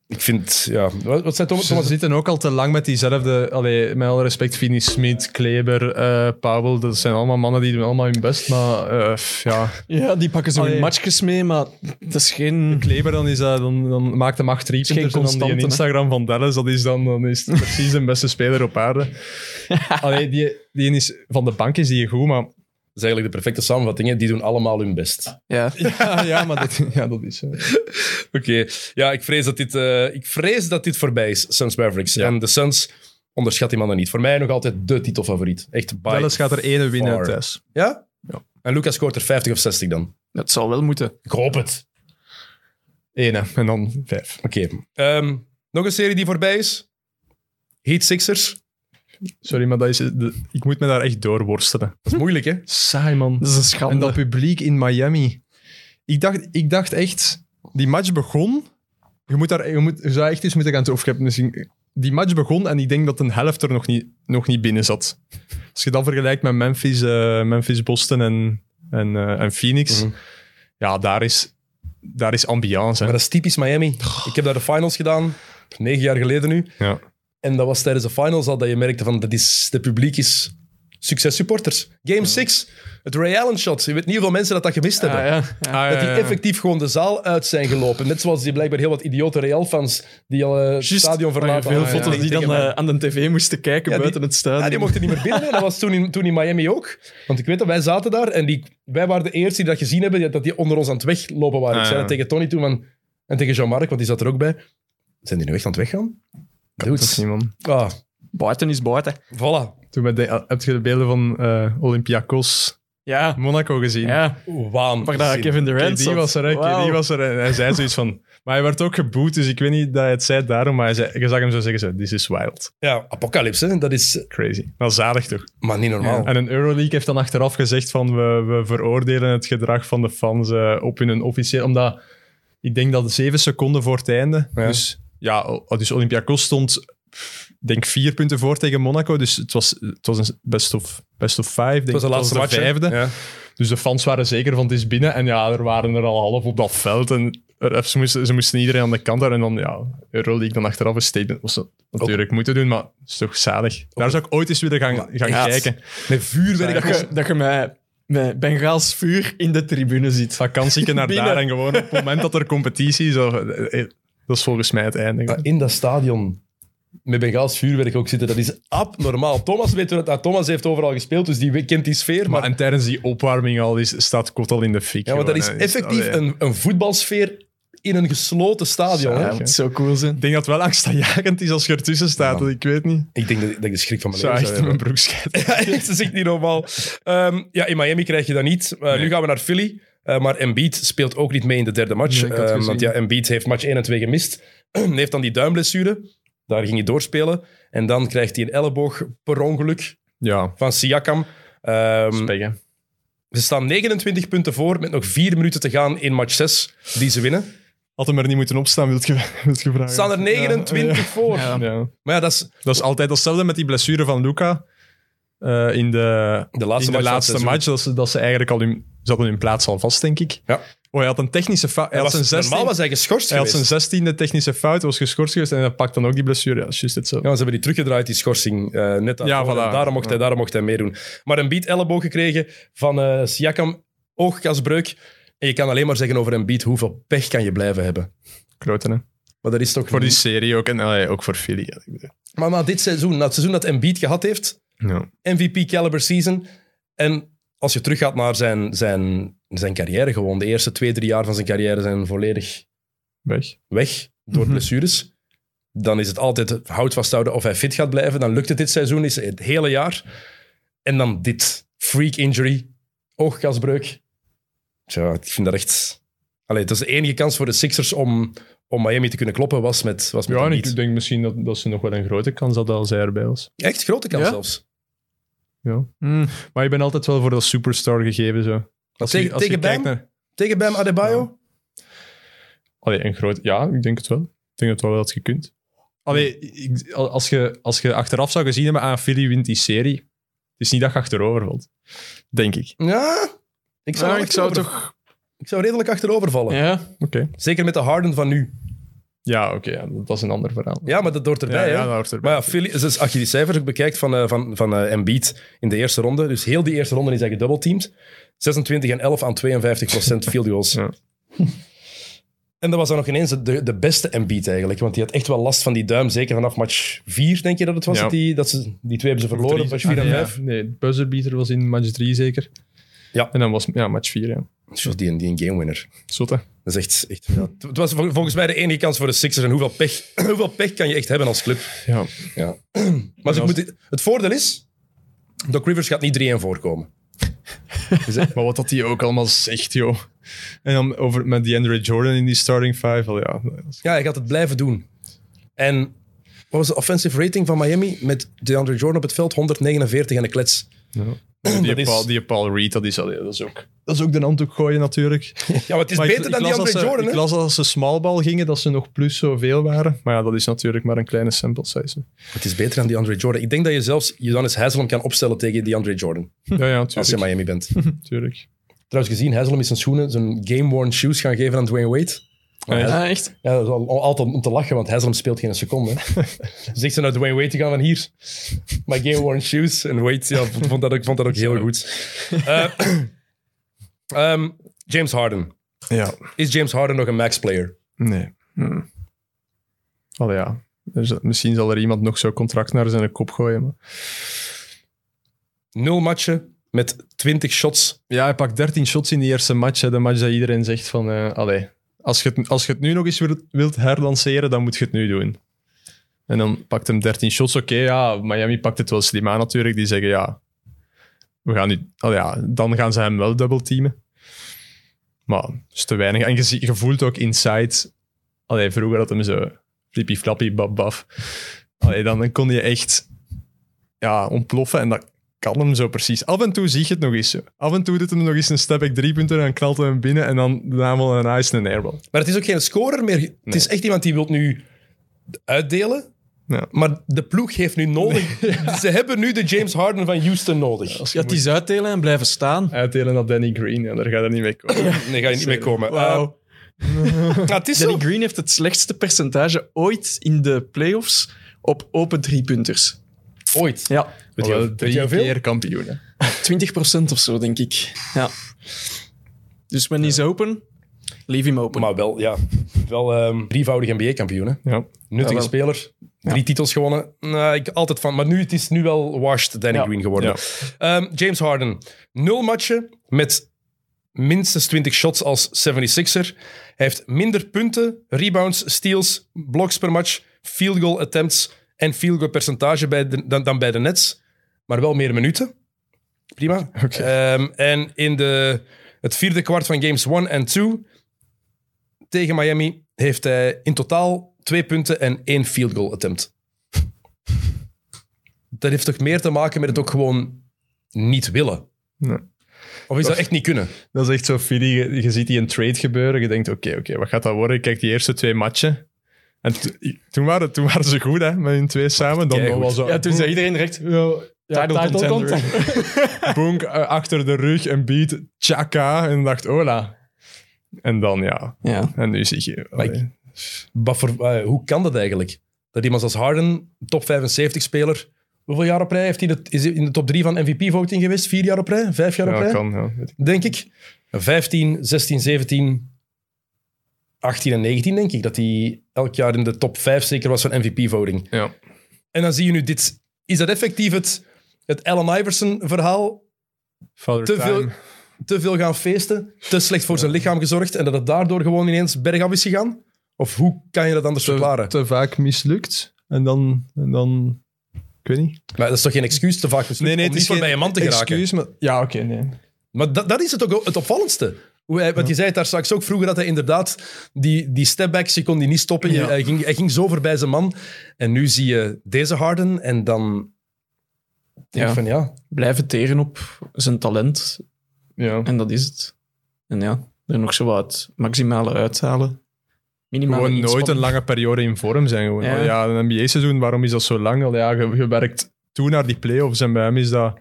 Ik vind, ja. Wat, wat zei Thomas? Ze Thomas? zitten ook al te lang met diezelfde... Allee, met alle respect, Vinnie Smit, Kleber, eh Powell. Dat zijn allemaal mannen die doen allemaal hun best. Maar eh, pff, ja... Ja, die pakken zo Allee. hun matchjes mee, maar dat is geen... Kleber, dan, is dat, dan, dan maakt hem acht driepunters Geen en dan die in constante, Instagram van Dallas, dat is dan, dan is het precies de beste speler op aarde. Allee, die, die is, van de bank is die goed, maar... Dat is eigenlijk de perfecte samenvatting. hè. Die doen allemaal hun best. Ja. Ja, ja maar dat, ja, dat is... eh. Oké. Ja, ik vrees, dat dit, eh, ik vrees dat dit voorbij is, Suns Mavericks. En de Suns onderschat die mannen niet. Voor mij nog altijd de titelfavoriet. Echt by Dallas gaat er ene winnen far. thuis. Ja? En Lucas scoort er 50 of 60 dan. Dat zal wel moeten. Ik hoop het. Ene, en dan vijf. Oké. Ehm, nog een serie die voorbij is. Heat Sixers. Sorry, maar dat is, de- ik moet me daar echt doorworstelen. Mhm. Dat is moeilijk, hè? Saai, man. Dat is een schande. Ah, En dat publiek in Miami. Ik dacht, ik dacht echt, die match begon. Je, moet daar, je, moet, je zou echt eens moeten gaan toe- of ik heb misschien- Die match begon en ik denk dat een helft er nog niet, nog niet binnen zat. Als je dat vergelijkt met Memphis, eh, Memphis Boston en, en, eh, en Phoenix. Mhm. Ja, daar is, daar is ambiance. hè. Maar dat is typisch Miami. Ik heb daar de finals gedaan, negen jaar geleden nu. Ja. En dat was tijdens de finals al dat je merkte van, dat is, de publiek is successupporters. Game 6, het Ray Allen shot. Je weet niet hoeveel mensen dat, dat gemist hebben. Ah, ja. Ja. Dat die effectief gewoon de zaal uit zijn gelopen. Net zoals die blijkbaar heel wat idiote Real-fans die al eh, het Juist. stadion verlaten. Veel hadden. foto's Ik die denk dan tegen eh, aan de tv moesten kijken Ja, die- buiten het stadion. ja, die mochten niet meer binnen. hè. Dat was toen in, toen in Miami ook. Want ik weet dat wij zaten daar en die, wij waren de eerste die dat gezien hebben, die- dat die onder ons aan het weglopen waren. Ah, ik zei ja. dat tegen Tony toen van, en tegen Jean-Marc, want die zat er ook bij. Zijn die nu echt aan het weggaan? Dude. Dat is niet, man. Ah, Buiten is buiten. voilà. Toen we de- heb je de beelden van eh, Olympiakos Ja. Monaco gezien. Ja. Waan. Waar daar Kevin Durant die zat. was er, hè. Wauw. die was er. En hij zei zoiets van... Maar hij werd ook geboet, dus ik weet niet dat hij het zei daarom, maar hij zei, je zag hem zo zeggen, zo, this is wild. Ja, apocalypse, hè. dat is... Crazy. Dat is zalig toch? Maar niet normaal. En een Euroleague heeft dan achteraf gezegd van, we, we veroordelen het gedrag van de fans eh, op hun officieel... Omdat, ik denk dat zeven seconden voor het einde... Ja. Dus, ja, o- dus Olympiakos stond, pff, denk vier punten voor tegen Monaco, dus het was, het was een best of, best of five, denk Het was de ik. laatste match. hè. vijfde. Ja. Dus de fans waren zeker van het is binnen. En ja, er waren er al half op dat veld. En er- ze moesten, ze moesten iedereen aan de kant houden. En dan, ja, Euroleague dan achteraf een statement. Was dat natuurlijk moeten doen, maar het is toch zalig. Daar zou ik ooit eens willen gaan, gaan Ja, het- kijken. Met vuurwerk. Dat je, dat je mij met Bengaals vuur in de tribune ziet. Vakantieke naar Binnen. daar en gewoon op het moment dat er competitie is. of- eh, eh, Dat is volgens mij het einde. Maar in dat stadion met Bengaals vuurwerk ook zitten, dat is abnormaal. Thomas weet hoe dat... ah, Thomas heeft overal gespeeld, dus die kent die sfeer, maar, maar... en tijdens die opwarming al is, staat kot al in de fik. Ja, want dat is gewoon, hè. effectief Allee. een, een voetbalsfeer in een gesloten stadion. Ja, Hè? Ja, dat zou cool zijn. Ik denk dat het wel angstaanjagend is als je ertussen staat. Ik weet niet. Ik denk dat, dat ik de schrik van mijn Zou leven echt in zou mijn hebben. broek scheiden. Ja, echt, dat is echt niet normaal. Ehm, ja, in Miami krijg je dat niet. Eh, Nu gaan we naar Philly. Eh, maar Embiid speelt ook niet mee in de derde match. Nee, ik had Ehm, gezien. want ja, Embiid heeft match 1 en 2 gemist. heeft dan die duimblessure. Daar ging hij doorspelen. En dan krijgt hij een elleboog per ongeluk Ja, van Siakam. Ehm, spek, hè. ze staan 29 punten voor met nog 4 minuten te gaan in match 6 die ze winnen. Had hem er niet moeten opstaan, wilt je, wilt je vragen. Ze staan er 29 voor. Ja. Ja. Maar ja, dat is Dat is altijd hetzelfde met die blessure van Luca. eh, in de, de laatste in de match. van het laatste seizoen. match, dat ze, dat ze eigenlijk al hun, ze hadden hun plaats al vast, denk ik. Oh, Ja. hij had een technische fout. Hij, Hij had zijn was, 16 normaal was hij geschorst hij had geweest. zijn zestiende technische fout, was geschorst geweest en hij pakt dan ook die blessure. Ja, dat is juist hetzelfde. Ja, ze hebben die teruggedraaid, die schorsing. eh, net daarvoor. Ja, voilà. En daarom, mocht hij, daarom mocht hij meedoen. Maar een beat elleboog gekregen van eh Siakam, oogkasbreuk. En je kan alleen maar zeggen over een beat, hoeveel pech kan je blijven hebben? Kloten, hè. Maar dat is toch... Voor die serie ook en allee, ook voor Philly. ja, ik bedoel. Maar na dit seizoen, na het seizoen dat Embiid gehad heeft, Ja. MVP caliber season. En als je teruggaat naar zijn, zijn, zijn carrière gewoon, de eerste twee, drie jaar van zijn carrière zijn volledig Weg. weg door Mhm. blessures. Dan is het altijd hout vasthouden of hij fit gaat blijven. Dan lukt het dit seizoen, is het hele jaar. En dan dit. Freak injury, ooggasbreuk. Tja, ik vind dat echt... Allee, dat is de enige kans voor de Sixers om, om Miami te kunnen kloppen, was met, was met Ja, en Embiid. ik denk misschien dat, dat ze nog wel een grote kans hadden als hij erbij was. Echt grote kans Ja? zelfs. Mm. Maar ik ben altijd wel voor dat superstar gegeven. Zo. Als tegen- tegen kijkt Bam? naar- Tegen Bam Adebayo? Allee, een groot... Ja, ik denk het wel. Ik denk het wel dat je kunt. Allee, ik- als, je, als je achteraf zou gezien hebben, aan Philly wint die serie. Het is niet dat je achterover valt. Denk ik. Ja, ik zou, Ja, ik zou achterover- toch... ik zou redelijk achterover vallen. Ja. Oké. Zeker met de Harden van nu. Ja, oké. ja, dat is een ander verhaal. Ja, maar dat hoort ja, erbij. hè? ja, dat hoort erbij. Maar ja, Philly, dus als je die cijfers ook bekijkt van, eh, van, van eh, Embiid in de eerste ronde, dus heel die eerste ronde is hij gedubbelteamd. 26 en 11 aan 52 field goals. Ja. En dat was dan nog ineens de, de beste Embiid eigenlijk, want die had echt wel last van die duim, zeker vanaf match 4, denk je dat het was, Ja. dat, die, dat ze, die twee hebben ze verloren, Drie- match 4 en Ah, nee, 5. ja. Nee, buzzerbeater was in match 3 zeker. Ja. En dan was ja, match 4, ja. Dus die, die een gamewinner. Zot, hè? Dat is echt... echt ja. Het was vol- volgens mij de enige kans voor de Sixers. En hoeveel pech, hoeveel pech kan je echt hebben als club? Ja. Maar ze moeten- het voordeel is, Doc Rivers gaat niet 3-1 voorkomen. Maar wat dat hij ook allemaal zegt, joh. En dan over met DeAndre Jordan in die starting five. Al ja, Ja, hij gaat het blijven doen. En wat was de offensive rating van Miami met DeAndre Jordan op het veld? 149 en een klets. die, Dat is- Paul, die Paul Reed, dat is, al- dat is ook... Dat is ook de handdoek gooien natuurlijk. Ja, maar het is Maar ik- beter ik dan las dat DeAndre ze- Jordan, hè? Ik las dat als ze smallbal gingen, dat ze nog plus zoveel waren. Maar ja, dat is natuurlijk maar een kleine sample size. Het is beter dan DeAndre Jordan. Ik denk dat je zelfs Johannes Haslem kan opstellen tegen DeAndre Jordan. ja, ja, Als je in tuurlijk. Miami bent. tuurlijk. Trouwens gezien, Haslem is zijn schoenen, zijn game-worn shoes gaan geven aan Dwayne Wade. Ja. Ah, echt? Ja, dat is al- altijd om te lachen, want Haslem speelt geen seconde. hè. dus ik ze naar Dwayne Wade te gaan van hier. My game worn shoes. En Wade ja, vond, vond dat ook, vond dat ook heel goed. Eh, ehm, James Harden. Ja, Is James Harden nog een max-player? nee. Al ja, er is- misschien zal er iemand nog zo'n contract naar zijn kop gooien. Maar... Nul matchen met 20 shots. Ja, hij pakt 13 shots in die eerste match. Hè. De match dat iedereen zegt van... eh, allee, als je, het, als je het nu nog eens wilt, wilt herlanceren, dan moet je het nu doen. En dan pakt hem 13 shots. Oké, ja, Miami pakt het wel slim aan natuurlijk. Die zeggen, ja, we gaan nu... Al ja, dan gaan ze hem wel dubbelteamen. Maar dat is te weinig. En je, zie- je voelt ook inside... Allee, vroeger had hem zo... Flippy flappy, bab baf. Allee, dan kon je echt... Ja, ontploffen. En dat, kan hem zo precies. Af en toe zie je het nog eens. zo. Af en toe doet hem nog eens een step-back driepunter en knalt hij hem binnen en dan daarna wel een ice en een airball. Maar het is ook geen scorer meer. Het is echt iemand die wil nu uitdelen. Ja. Maar de ploeg heeft nu nodig. Ze hebben nu de James Harden van Houston nodig. Ja, het is uitdelen en blijven staan. Uitdelen naar Danny Green, ja, daar gaat er niet mee komen. Nee, ga je niet mee komen. Eh, Wauw. nou, het is zo. Danny Green heeft het slechtste percentage ooit in de playoffs op open driepunters. Ooit. Ja, Weet je- Wel weet je drie hoeveel? keer kampioen. hè. 20% of zo, denk ik. Ja. Dus when he's open, leave him open. Maar wel, ja. Wel ehm drievoudig NBA-kampioen, hè. Ja. Nuttige Jawel. speler. Drie titels gewonnen. Nou, ik altijd van. Maar nu, het is nu wel washed Danny Ja. Green geworden. Ehm, James Harden. Nul matchen met minstens 20 shots als 76er. Hij heeft minder punten, rebounds, steals, blocks per match, field goal attempts en field goal percentage bij de- dan, dan bij de Nets. Maar wel meer minuten. Prima. Ehm, en in de, het vierde kwart van games 1 en 2 tegen Miami heeft hij in totaal twee punten en één field goal attempt. Dat heeft toch meer te maken met het ook gewoon niet willen? Nee. Of is dat echt niet kunnen? Dat is echt zo Philly. Je, je ziet die een trade gebeuren. Je denkt, oké, oké, wat gaat dat worden? Ik kijk die eerste twee matchen. En to- toen, waren, toen waren ze goed, hè, met hun twee samen. Dan Keigoed. was zo, ja, toen zei iedereen direct... Ja, title, title contender. Bonk eh, achter de rug, een beat, tjaka. En dacht, hola. En dan ja. Ja. En nu zie je. Maar ik- allee. Wat voor- eh, hoe kan dat eigenlijk? Dat iemand als Harden, top 75-speler, hoeveel jaar op rij heeft hij? in de- Is hij in de top 3 van MVP-voting geweest? Vier jaar op rij? Vijf jaar op Ja, rij? kan. Ja, weet ik. denk ik. 15, 16, 17, 18 en 19, denk ik. Dat hij elk jaar in de top 5 zeker was van MVP-voting. Ja. En dan zie je nu dit. Is dat effectief het, het Allen Iverson-verhaal? Father Te veel, Time. te veel gaan feesten, te slecht voor zijn lichaam gezorgd en dat het daardoor gewoon ineens bergaf is gegaan? Of hoe kan je dat anders Te, verklaren? te vaak mislukt. En dan, en dan. Ik weet niet. Maar dat is toch geen excuus te vaak mislukt Nee, nee, om het niet is voor bij geen een man te geraken? Excuus, maar Ja, oké, nee. Maar dat, dat is het ook het opvallendste. Hoe hij, want je zei het daar straks ook vroeger, dat hij inderdaad die, die stepbacks, je kon die niet stoppen. Je- hij, ging, hij ging zo voorbij zijn man. En nu zie je deze Harden en dan denk Ja. ik van ja, Blijven teren op zijn talent. Ja. En dat is het. En ja, er nog zo wat maximale uithalen. Minimale Gewoon nooit een inspanning. lange periode in vorm zijn. Gewoon. Ja. Ja, een NBA-seizoen, waarom is dat zo lang? Al ja, je, je werkt toe naar die play-offs en bij hem is dat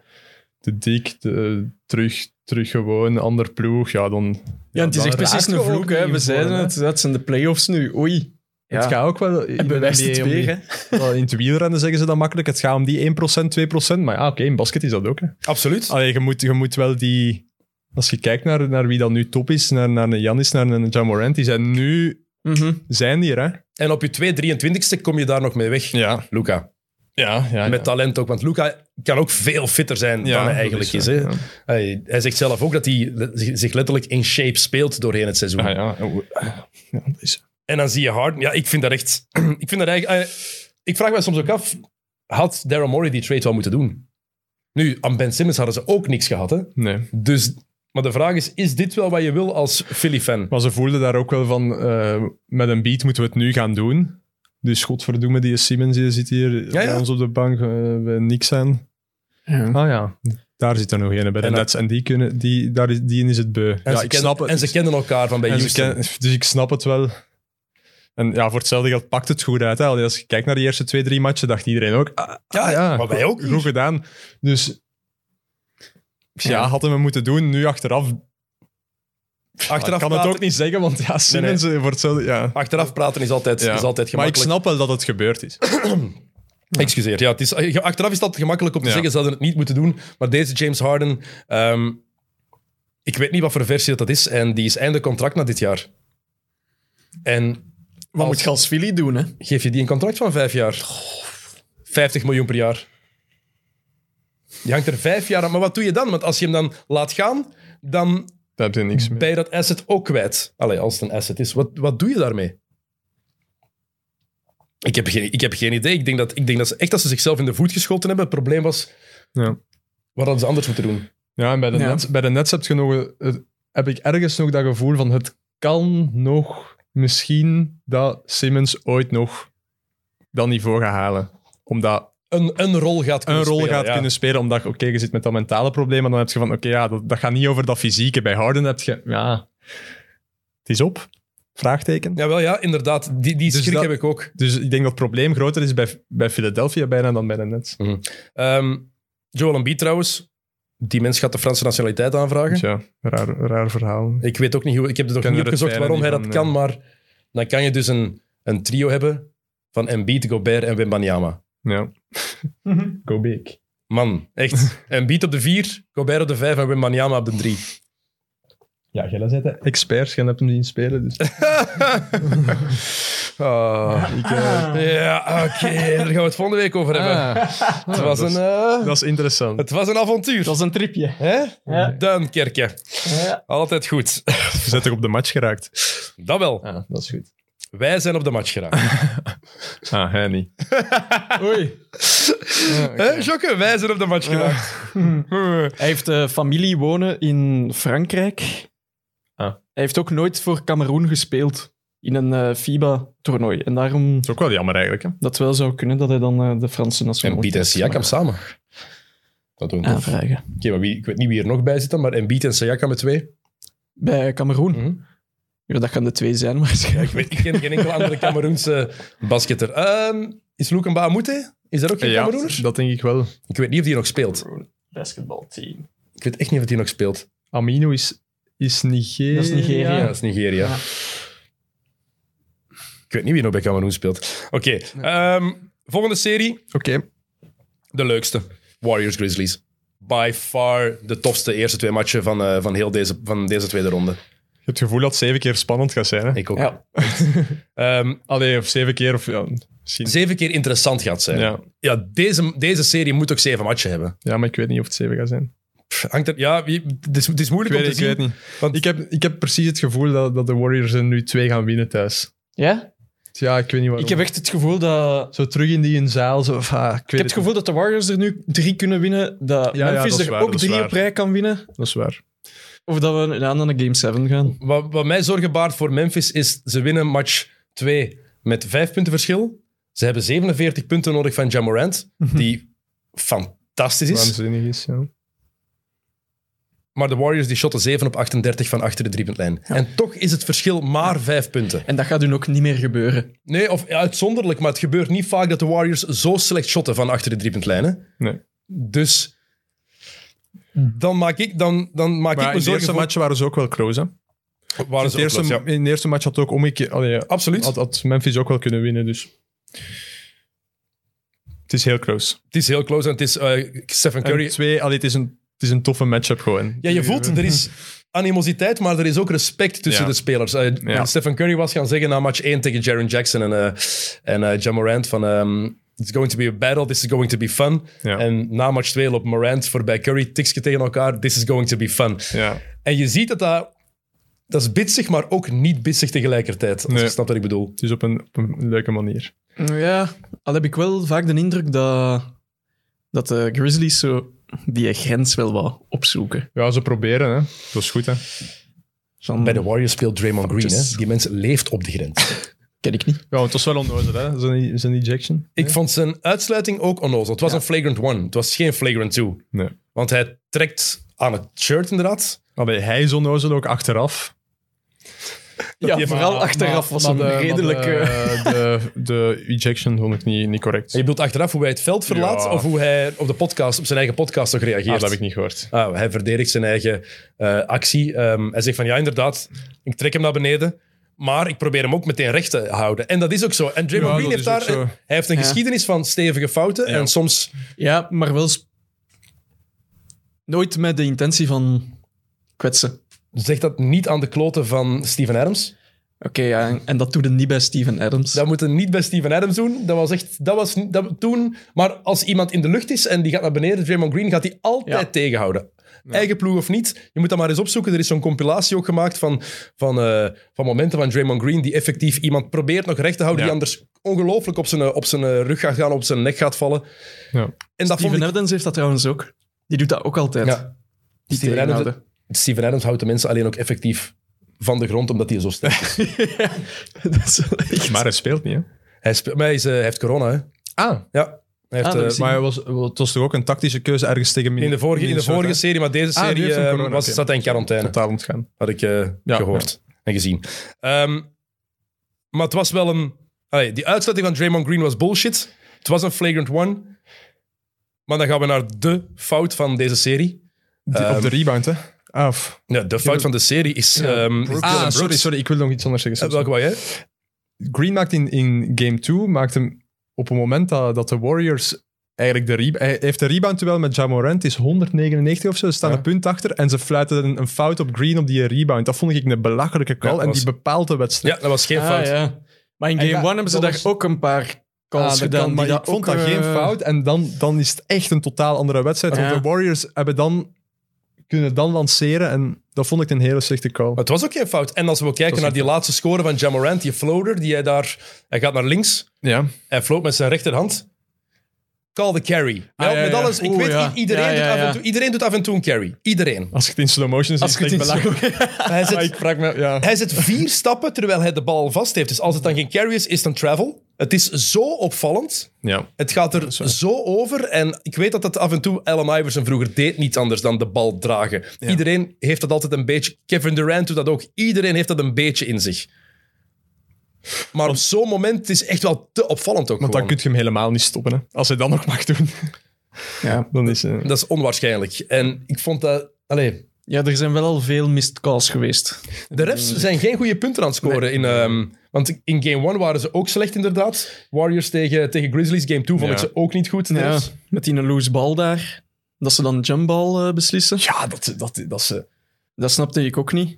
te dik, te- terug, terug gewoon, ander ploeg. Ja, dan, Ja, en het is dan echt precies raakt een je ook vloek, hè. niet We in zeiden vorm, hè. het, dat zijn de play-offs nu. Oei. Ja. Het gaat ook wel... en in de bewijst NBA het om die- weer, hè. wel, in het wielrennen zeggen ze dat makkelijk. Het gaat om die 1%, 2%. Maar ja, oké, in basket is dat ook. Hè. Ah. absoluut. Allee, je moet, je moet wel die... Als je kijkt naar, naar wie dan nu top is, naar, naar een Janis, naar een Jamorant, die zijn nu... Mhm. Zijn hier, hè? En op je 2, 23ste kom je daar nog mee weg, Ja. Luca. Ja, ja. Met talent ook, want Luca kan ook veel fitter zijn dan hij eigenlijk is. hè. Hij, hij zegt zelf ook dat hij le- zich zich letterlijk in shape speelt doorheen het seizoen. Ja, ja. oh. ja dat is... En dan zie je Harden. Ja, ik vind dat echt... ik, vind dat eigenlijk, eh, ik vraag me soms ook af, had Daryl Morey die trade wel moeten doen? Nu, aan Ben Simmons hadden ze ook niks gehad, hè? Nee. Dus, maar de vraag is, is dit wel wat je wil als Philly-fan? Maar ze voelden daar ook wel van, eh, met een beat moeten we het nu gaan doen. Dus godverdomme, die Siemens die zit hier Ja, ja. bij ons op de bank, eh, bij niks aan. Ja. Ah ja, daar zit er nog een bij de En dat- Nets. En die, kunnen, die, daar is, die is het beu. En, ja, ze ik kennen- snap het. en ze kennen elkaar van bij En ze Houston. ken- dus ik snap het wel. En ja, voor hetzelfde geld pakt het goed uit. Hè. Allee, Als je kijkt naar die eerste twee, drie matchen, dacht iedereen ook... ah, ja, ja, maar wij ook Goed niet. gedaan. Dus ja, hadden we moeten doen. Nu achteraf Achteraf, ik kan praten, het ook niet zeggen, want ja, Simmons eh, wordt zo... Ja. achteraf praten is altijd, Ja. is altijd Maar ik gemakkelijk. snap wel dat het gebeurd is. Excuseer. Ja, het is, eh, achteraf is dat gemakkelijk om te Ja. zeggen, ze hadden het niet moeten doen. Maar deze James Harden, ehm, ik weet niet wat voor versie dat, dat is. En die is einde contract na dit jaar. En Wat moet je als Philly doen, hè? geef je die een contract van vijf jaar? 50 miljoen per jaar. Die hangt er vijf jaar aan. Maar wat doe je dan? Want als je hem dan laat gaan, dan Daar heb je niks mee. ben je dat asset ook kwijt. Allee, als het een asset is. Wat, wat doe je daarmee? Ik heb geen, ik heb geen idee. Ik denk, dat, ik denk dat ze echt dat ze zichzelf in de voet geschoten hebben. Het probleem was, Ja. wat hadden ze anders moeten doen? Ja, en bij de, Ja. Nets, bij de Nets heb, je nog, eh, het- heb ik ergens nog dat gevoel van het kan nog misschien dat Simmons ooit nog dat niveau gaat halen. Omdat Een, een rol gaat kunnen een rol spelen, gaat ja. kunnen spelen, omdat je- oké, je zit met dat mentale probleem en dan heb je van, oké, ja, dat, dat gaat niet over dat fysieke. Bij Harden heb je, ja, het is op. Vraagteken. Jawel, ja, inderdaad. Die, die Dus schrik dat- heb ik ook. Dus ik denk dat het probleem groter is bij, bij Philadelphia bijna dan bij de Nets. Ehm, Joel Embiid trouwens. Die mens gaat de Franse nationaliteit aanvragen. Dus ja, raar, raar verhaal. Ik weet ook niet hoe... Ik heb er nog Ken niet de opgezocht waarom refreinen hij dat niet kan, van, eh, maar dan kan je dus een, een trio hebben van Embiid, Gobert en Wimbanyama. Ja. Mhm. Go big. Man, echt. Embiid op de 4, Gobert op de 5 en Wimbanyama op de 3. Ja, jij bent de expert, jij hebt hem zien spelen. Dus. Ah, ik, eh, Ja, oké. Daar gaan we het volgende week over hebben. het, was dat een, is- eh, dat is interessant. het was een avontuur. Dat is een tripje. Hè? Ja. Duinkerke. Altijd goed. Je bent toch op de match geraakt? Dat wel. Ja, Ah, dat is goed. Wij zijn op de match geraakt. Ah, hij niet. Oei. Hè, Jocke? Wij zijn op de match geraakt. Hij heeft eh, familie wonen in Frankrijk. Ah. Hij heeft ook nooit voor Cameroen gespeeld in een eh, FIBA-toernooi. En daarom is ook wel jammer eigenlijk. Hè? dat wel zou kunnen dat hij dan eh, de Franse En Piet en nationaliteit Siakam samen. Dat doen we. Oké, aanvragen. maar wie, ik weet niet wie er nog bij zit, dan, maar Embiid en Siakam met twee. Bij eh, Cameroen. Mhm. Ja, dat gaan de twee zijn waarschijnlijk. Ik, weet, ik ken geen enkele andere Cameroense basketter. Ehm, is Luke Mbamute? Is dat ook geen Ja, Cameroener? dat denk ik wel. Ik weet niet of die nog speelt. Basketbalteam. Ik weet echt niet of die nog speelt. Amino is is Nigeria. Dat is Nigeria. Ja, dat is Nigeria. Ik weet niet wie nog bij Cameroen speelt. Oké, ehm, volgende serie. Oké. De leukste. Warriors Grizzlies. By far de tofste eerste twee matchen van, eh, van, heel deze, van deze tweede ronde. Je hebt het gevoel dat het zeven keer spannend gaat zijn. Hè? Ik ook. Ja. Ehm, Allee, of zeven keer. Of, ja, misschien. zeven keer interessant gaat zijn. Ja, Ja. deze, deze serie moet ook zeven matchen hebben. ja, maar ik weet niet of het zeven gaat zijn. Pff, hangt er, ja, wie- het, is, het is moeilijk Ik weet, om ik te zien. weet niet. Want ik heb, ik heb precies het gevoel dat, dat de Warriors er nu twee gaan winnen thuis. Ja? Ja, ik weet niet waarom. Ik heb echt het gevoel dat... Zo terug in die een zaal. Zo, of, ah, ik weet Ik heb het het gevoel dat de Warriors er nu drie kunnen winnen. Dat Ja, ja, Memphis dat is er waar, ook dat is drie waar. op rij kan winnen. niet. Dat is waar. Of dat we aan naar de Game 7 gaan. Wat, wat mij zorgen baart voor Memphis is ze winnen match 2 met vijf punten verschil. Ze hebben 47 punten nodig van Jamorant, die fantastisch is. Waanzinnig is. Ja. Maar de Warriors die shotten 7 op 38 van achter de driepuntlijn. En toch is het verschil maar vijf punten. En dat gaat hun ook niet meer gebeuren. Nee, of ja, uitzonderlijk, maar het gebeurt niet vaak dat de Warriors zo slecht shotten van achter de driepuntlijn. hè. Nee. Dus dan maak ik, dan, dan maak Maar ik in me de zorgen eerste voor... match waren ze ook wel close. Hè? Waren ze Het eerste, ook wel, ja. In de eerste match had ook omgekeerd. allee, ja, Absoluut. Had, had Memphis ook wel kunnen winnen, dus. Het is heel close. Het is heel close en het is eh, Stephen En Curry. twee, allee, het, is een, het is een toffe matchup gewoon. Ja, je voelt, er is animositeit, maar er is ook respect tussen Ja. de spelers. Eh, Ja. Stephen Curry was gaan zeggen na match 1 tegen Jaron Jackson en, eh en eh, Ja Morant van... ehm, It's going to be a battle, this is going to be fun. Ja. En na match 2 loopt Morant voorbij Curry, tikje tegen elkaar, this is going to be fun. Ja. En je ziet dat dat... Dat is bitsig, maar ook niet bitsig tegelijkertijd. Als Nee. je snapt wat ik bedoel. Dus op een, op een leuke manier. Ja, al heb ik wel vaak de indruk dat, dat de Grizzlies zo die grens wel wat opzoeken. Ja, ze proberen, hè. Dat is goed, hè. Van, Bij de Warriors speelt Draymond Green. Yes. Hè? Die mens leeft op de grens. ken ik niet. Ja, want het was wel onnozel, hè. Zijn, zijn ejection. ik vond zijn uitsluiting ook onnozel. Het was een flagrant one. Het was geen flagrant two. Nee. Want hij trekt aan het shirt inderdaad. Allee, hij is onnozel ook achteraf. Ja, die- vooral maar- achteraf was Maar hem de- maar redelijk... De, eh, de, de ejection vond ik niet, niet correct. Je bedoelt achteraf hoe hij het veld verlaat Ja. of hoe hij op, de podcast, op zijn eigen podcast nog reageert. Ah, dat heb ik niet gehoord. Ah, hij verdedigt zijn eigen eh, actie. Ehm, hij zegt van ja, inderdaad, ik trek hem naar beneden. Maar ik probeer hem ook meteen recht te houden. En dat is ook zo. En Draymond Ja, Green heeft dat daar is ook een, zo. hij heeft een Ja. geschiedenis van stevige fouten. En soms Ja, maar wel... sp- Nooit met de intentie van kwetsen. Oké, zegt dat niet aan de kloten van Steven Adams. ja, en- en dat doet het niet bij Steven Adams. Dat moeten we niet bij Steven Adams doen. Dat was echt, dat was niet- dat, toen. Maar als iemand in de lucht is en die gaat naar beneden, Draymond Green gaat die altijd Ja. tegenhouden. Eigen ploeg of niet, je moet dat maar eens opzoeken. Er is zo'n compilatie ook gemaakt van, van, eh, van momenten van Draymond Green die effectief iemand probeert nog recht te houden, Ja. die anders ongelooflijk op zijn, eh, op zijn eh, rug gaat gaan, op zijn nek gaat vallen. Ja. En dat Steven vond ik... Adams heeft dat trouwens ook. Die doet dat ook altijd. Ja. die Steven tegenhouden. Adams, Steven Adams houdt de mensen alleen ook effectief van de grond, omdat hij zo sterk is. dat is wel echt- Maar hij speelt niet, hè. hij, speelt- maar hij, is, eh, hij heeft corona, hè. Ah, Ja. Hij heeft, Ah, dat eh, is- maar hij was, het was toch ook een tactische keuze ergens tegen Min- in de vorige, in de Minnesota, vorige hè? serie, maar deze Ah, die serie heeft een eh, corona, was, oké. zat hij in quarantaine. Totaal ontgaan. had ik eh, Ja, gehoord en gezien. Ehm, maar het was wel een... allee, die uitsluiting van Draymond Green was bullshit. Het was een flagrant one. Maar dan gaan we naar de fout van deze serie. Die- Ehm, op de rebound, hè. Ah, of- Ja, de fout van de serie is... ehm is Dylan ah, Brooks. sorry, sorry. Ik wil nog iets anders Eh, zeggen. welke wou jij? Green maakt in, in game 2 maakt hem op het moment dat, dat de Warriors eigenlijk de rebound... Hij heeft de rebound wel met Jamorant, is 199 of zo. Ze staan Ja. een punt achter en ze fluiten een, een fout op Green op die rebound. Dat vond ik een belachelijke call Ja, en was- die bepaalt de wedstrijd. Ja, dat was geen Ah, fout. ja. Maar in En game ja, 1 hebben ze dat daar was- ook een paar calls Ah, dat gedaan. kan, maar die ik vond dat ook, geen eh, fout. En dan, dan is het echt een totaal andere wedstrijd. Ja. Want de Warriors hebben dan, kunnen dan lanceren. En dat vond ik een hele slechte call. Maar het was ook geen fout. En als we kijken naar die laatste score van Jamorant, die floater, die hij daar... Hij gaat naar links, Ja. hij float met zijn rechterhand. Call the carry. Ah, ja, ja, met ja. alles. Ik Oeh, weet, ja. iedereen, Ja, ja, Doet af ja. en toe, iedereen doet af en toe een carry. Iedereen. Als je het in slow motion ziet, Als ik het in is echt slow- Hij belachelijk. Maar zit, ik vraag me... Ja. Hij zet vier stappen terwijl hij de bal al vast heeft. Dus als het dan geen carry is, is het een travel. Het is zo opvallend. ja. Het gaat er zo over. En ik weet dat dat af en toe Allen Iverson vroeger deed niet anders dan de bal dragen. Iedereen heeft dat altijd een beetje. Kevin Durant doet dat ook. Iedereen heeft dat een beetje in zich. Maar op zo'n moment het is echt wel te opvallend ook Want dan gewoon. kun je hem helemaal niet stoppen. Hè. Als hij dat nog mag doen, Ja. dan is... eh, Dat is onwaarschijnlijk. En ik vond dat... Allee, Ja, er zijn wel al veel missed calls geweest. De Mm. refs zijn geen goede punten aan het scoren. In, ehm, want in game 1 waren ze ook slecht, inderdaad. Warriors tegen, tegen Grizzlies. Game 2 vond Ja. ik ze ook niet goed. Dus, de Ja, refs. met die een loose bal daar. Dat ze dan jumpbal eh, beslissen. ja dat, dat, dat ze... Dat snapte ik ook niet.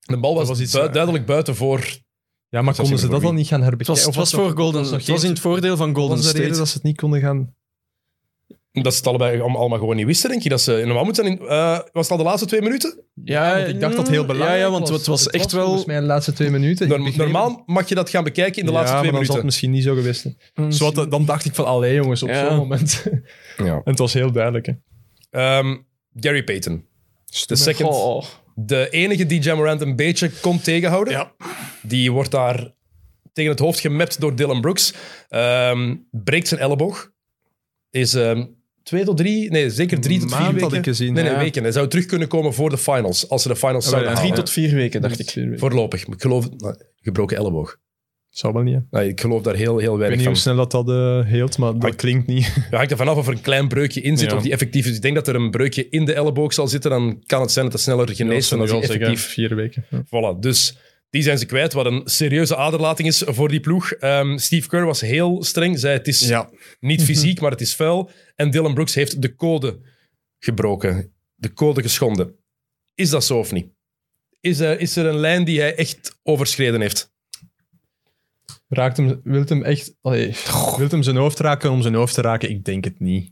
De bal was, was iets, bui- eh, duidelijk buiten voor. Ja, maar Zoals konden ze Jimmy dat dan Bobby. niet gaan Het was, herbekijken? het was voor Golden was nog Het was in geen- het voordeel van Dat Golden was de reden State. dat ze het niet konden gaan... Dat ze het allebei, allemaal allemaal gewoon niet wisten, denk je. Dat ze, normaal moeten zijn in, eh, was het al de laatste twee minuten? Ja, mm, Want ik dacht dat het heel belangrijk Ja, ja want het was echt wel... Volgens mij de laatste twee minuten. Norm- normaal mag je dat gaan bekijken in de laatste twee maar minuten. dan zal het misschien niet zo geweest zijn. Mm. Zo had- dan dacht ik van, allee jongens, op Ja. zo'n moment. Ja. en het was heel duidelijk. Hè. Ehm, Gary Payton. De second. Mm. Goh. De enige die Jamorant een beetje kon tegenhouden. Die wordt daar tegen het hoofd gemapt door Dylan Brooks. Ehm, breekt zijn elleboog. Is ehm, twee tot drie... Nee, zeker drie tot vier Maand had weken. ik gezien, nee, nee, ja. Oh, weken. Hij zou terug kunnen komen voor de finals. Als ze de finals zouden ja. halen. Drie tot vier weken, dacht ik. Voorlopig. Ik geloof... nou, gebroken elleboog. Zou wel niet. hè. Ik Nee, ik geloof daar heel, heel weet weinig niet van. hoe snel dat dat eh, heelt, maar dat klinkt niet. Ja, hangt er vanaf of er een klein breukje in zit Ja. of die effectief is. Ik denk dat er een breukje in de elleboog zal zitten, dan kan het zijn dat het sneller geneest dan als die effectief... vier weken. Voilà, dus die zijn ze kwijt, wat een serieuze aderlating is voor die ploeg. Ehm, Steve Kerr was heel streng, zei het is niet fysiek, maar het is vuil. En Dylan Brooks heeft de code gebroken, de code geschonden. Is dat zo of niet? Is er, is er een lijn die hij echt overschreden heeft? Raakt hem, wilt hem echt... Allee, wilt hem zijn hoofd raken om zijn hoofd te raken? Ik denk het niet.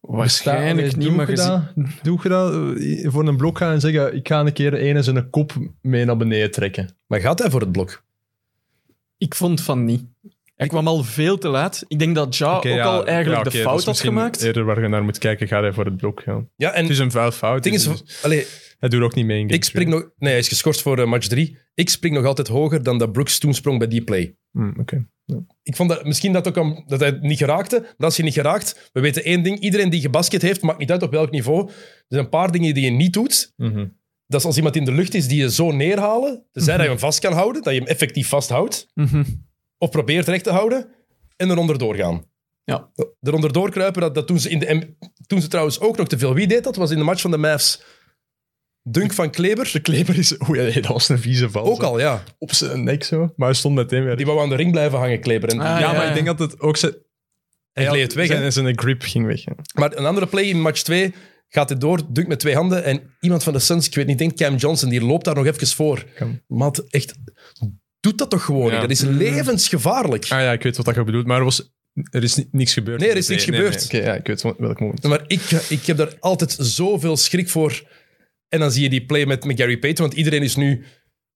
Waarschijnlijk Allee, niet, doe maar je gezien... dat? Doe je dat eh, voor een blok gaan en zeggen, ik ga een keer een en zijn kop mee naar beneden trekken. Maar gaat hij voor het blok? Ik vond van niet. Hij kwam al veel te laat. Ik denk dat Ja Oké, ook ja, al eigenlijk de ja, oké, dat fout is had misschien gemaakt. Eerder waar je naar moet kijken, gaat hij voor het blok. Ja. Ja, en Het het is een vuil fout. ding dus is... Allee, Hij doet ook niet mee in game Ik spring nog... Nee, hij is geschorst voor eh, match 3. Ik spring nog altijd hoger dan dat Brooks toen sprong bij die play. three. Hmm, oké. Ik vond dat misschien dat, ook aan- dat hij het niet geraakte. Maar als je niet geraakt... We weten één ding. Iedereen die gebasket heeft, maakt niet uit op welk niveau. Er zijn een paar dingen die je niet doet. Mhm. Dat is als iemand in de lucht is die je zo neerhalen. Tenzij dat je hem vast kan houden. Dat je hem effectief vasthoudt. Mhm. Of probeert recht te houden. En eronder doorgaan. Ja. Eronder doorkruipen, dat, dat doen ze in de... M- Toen ze trouwens ook nog te veel. Wie deed dat? was in de match van de Mavs. Dunk van Kleber. De kleber is... Oei, nee, dat was een vieze val. Ook zo. al, ja. Op zijn nek zo. Maar hij stond meteen weer. Die wou aan de ring blijven hangen, Kleber. En Ah, ja, ja. maar ik denk dat het ook zijn... hij gleed weg. hè. Zijn, zijn grip ging weg. hè. Maar een andere play in match 2 gaat hij door, dukt met twee handen. En iemand van de Suns, ik weet niet, ik denk Cam Johnson, die loopt daar nog even voor. Cam. Maat, echt, doet dat toch gewoon? Ja. Dat is levensgevaarlijk. Ah ja, ik weet wat dat je bedoelt, maar er, was, er is ni- niks gebeurd. Nee, er is niks gebeurd. nee. Oké, ja, ik weet wel- welk moment. Maar ik, ik heb daar altijd zoveel schrik voor. En dan zie je die play met, met Gary Payton, want iedereen is nu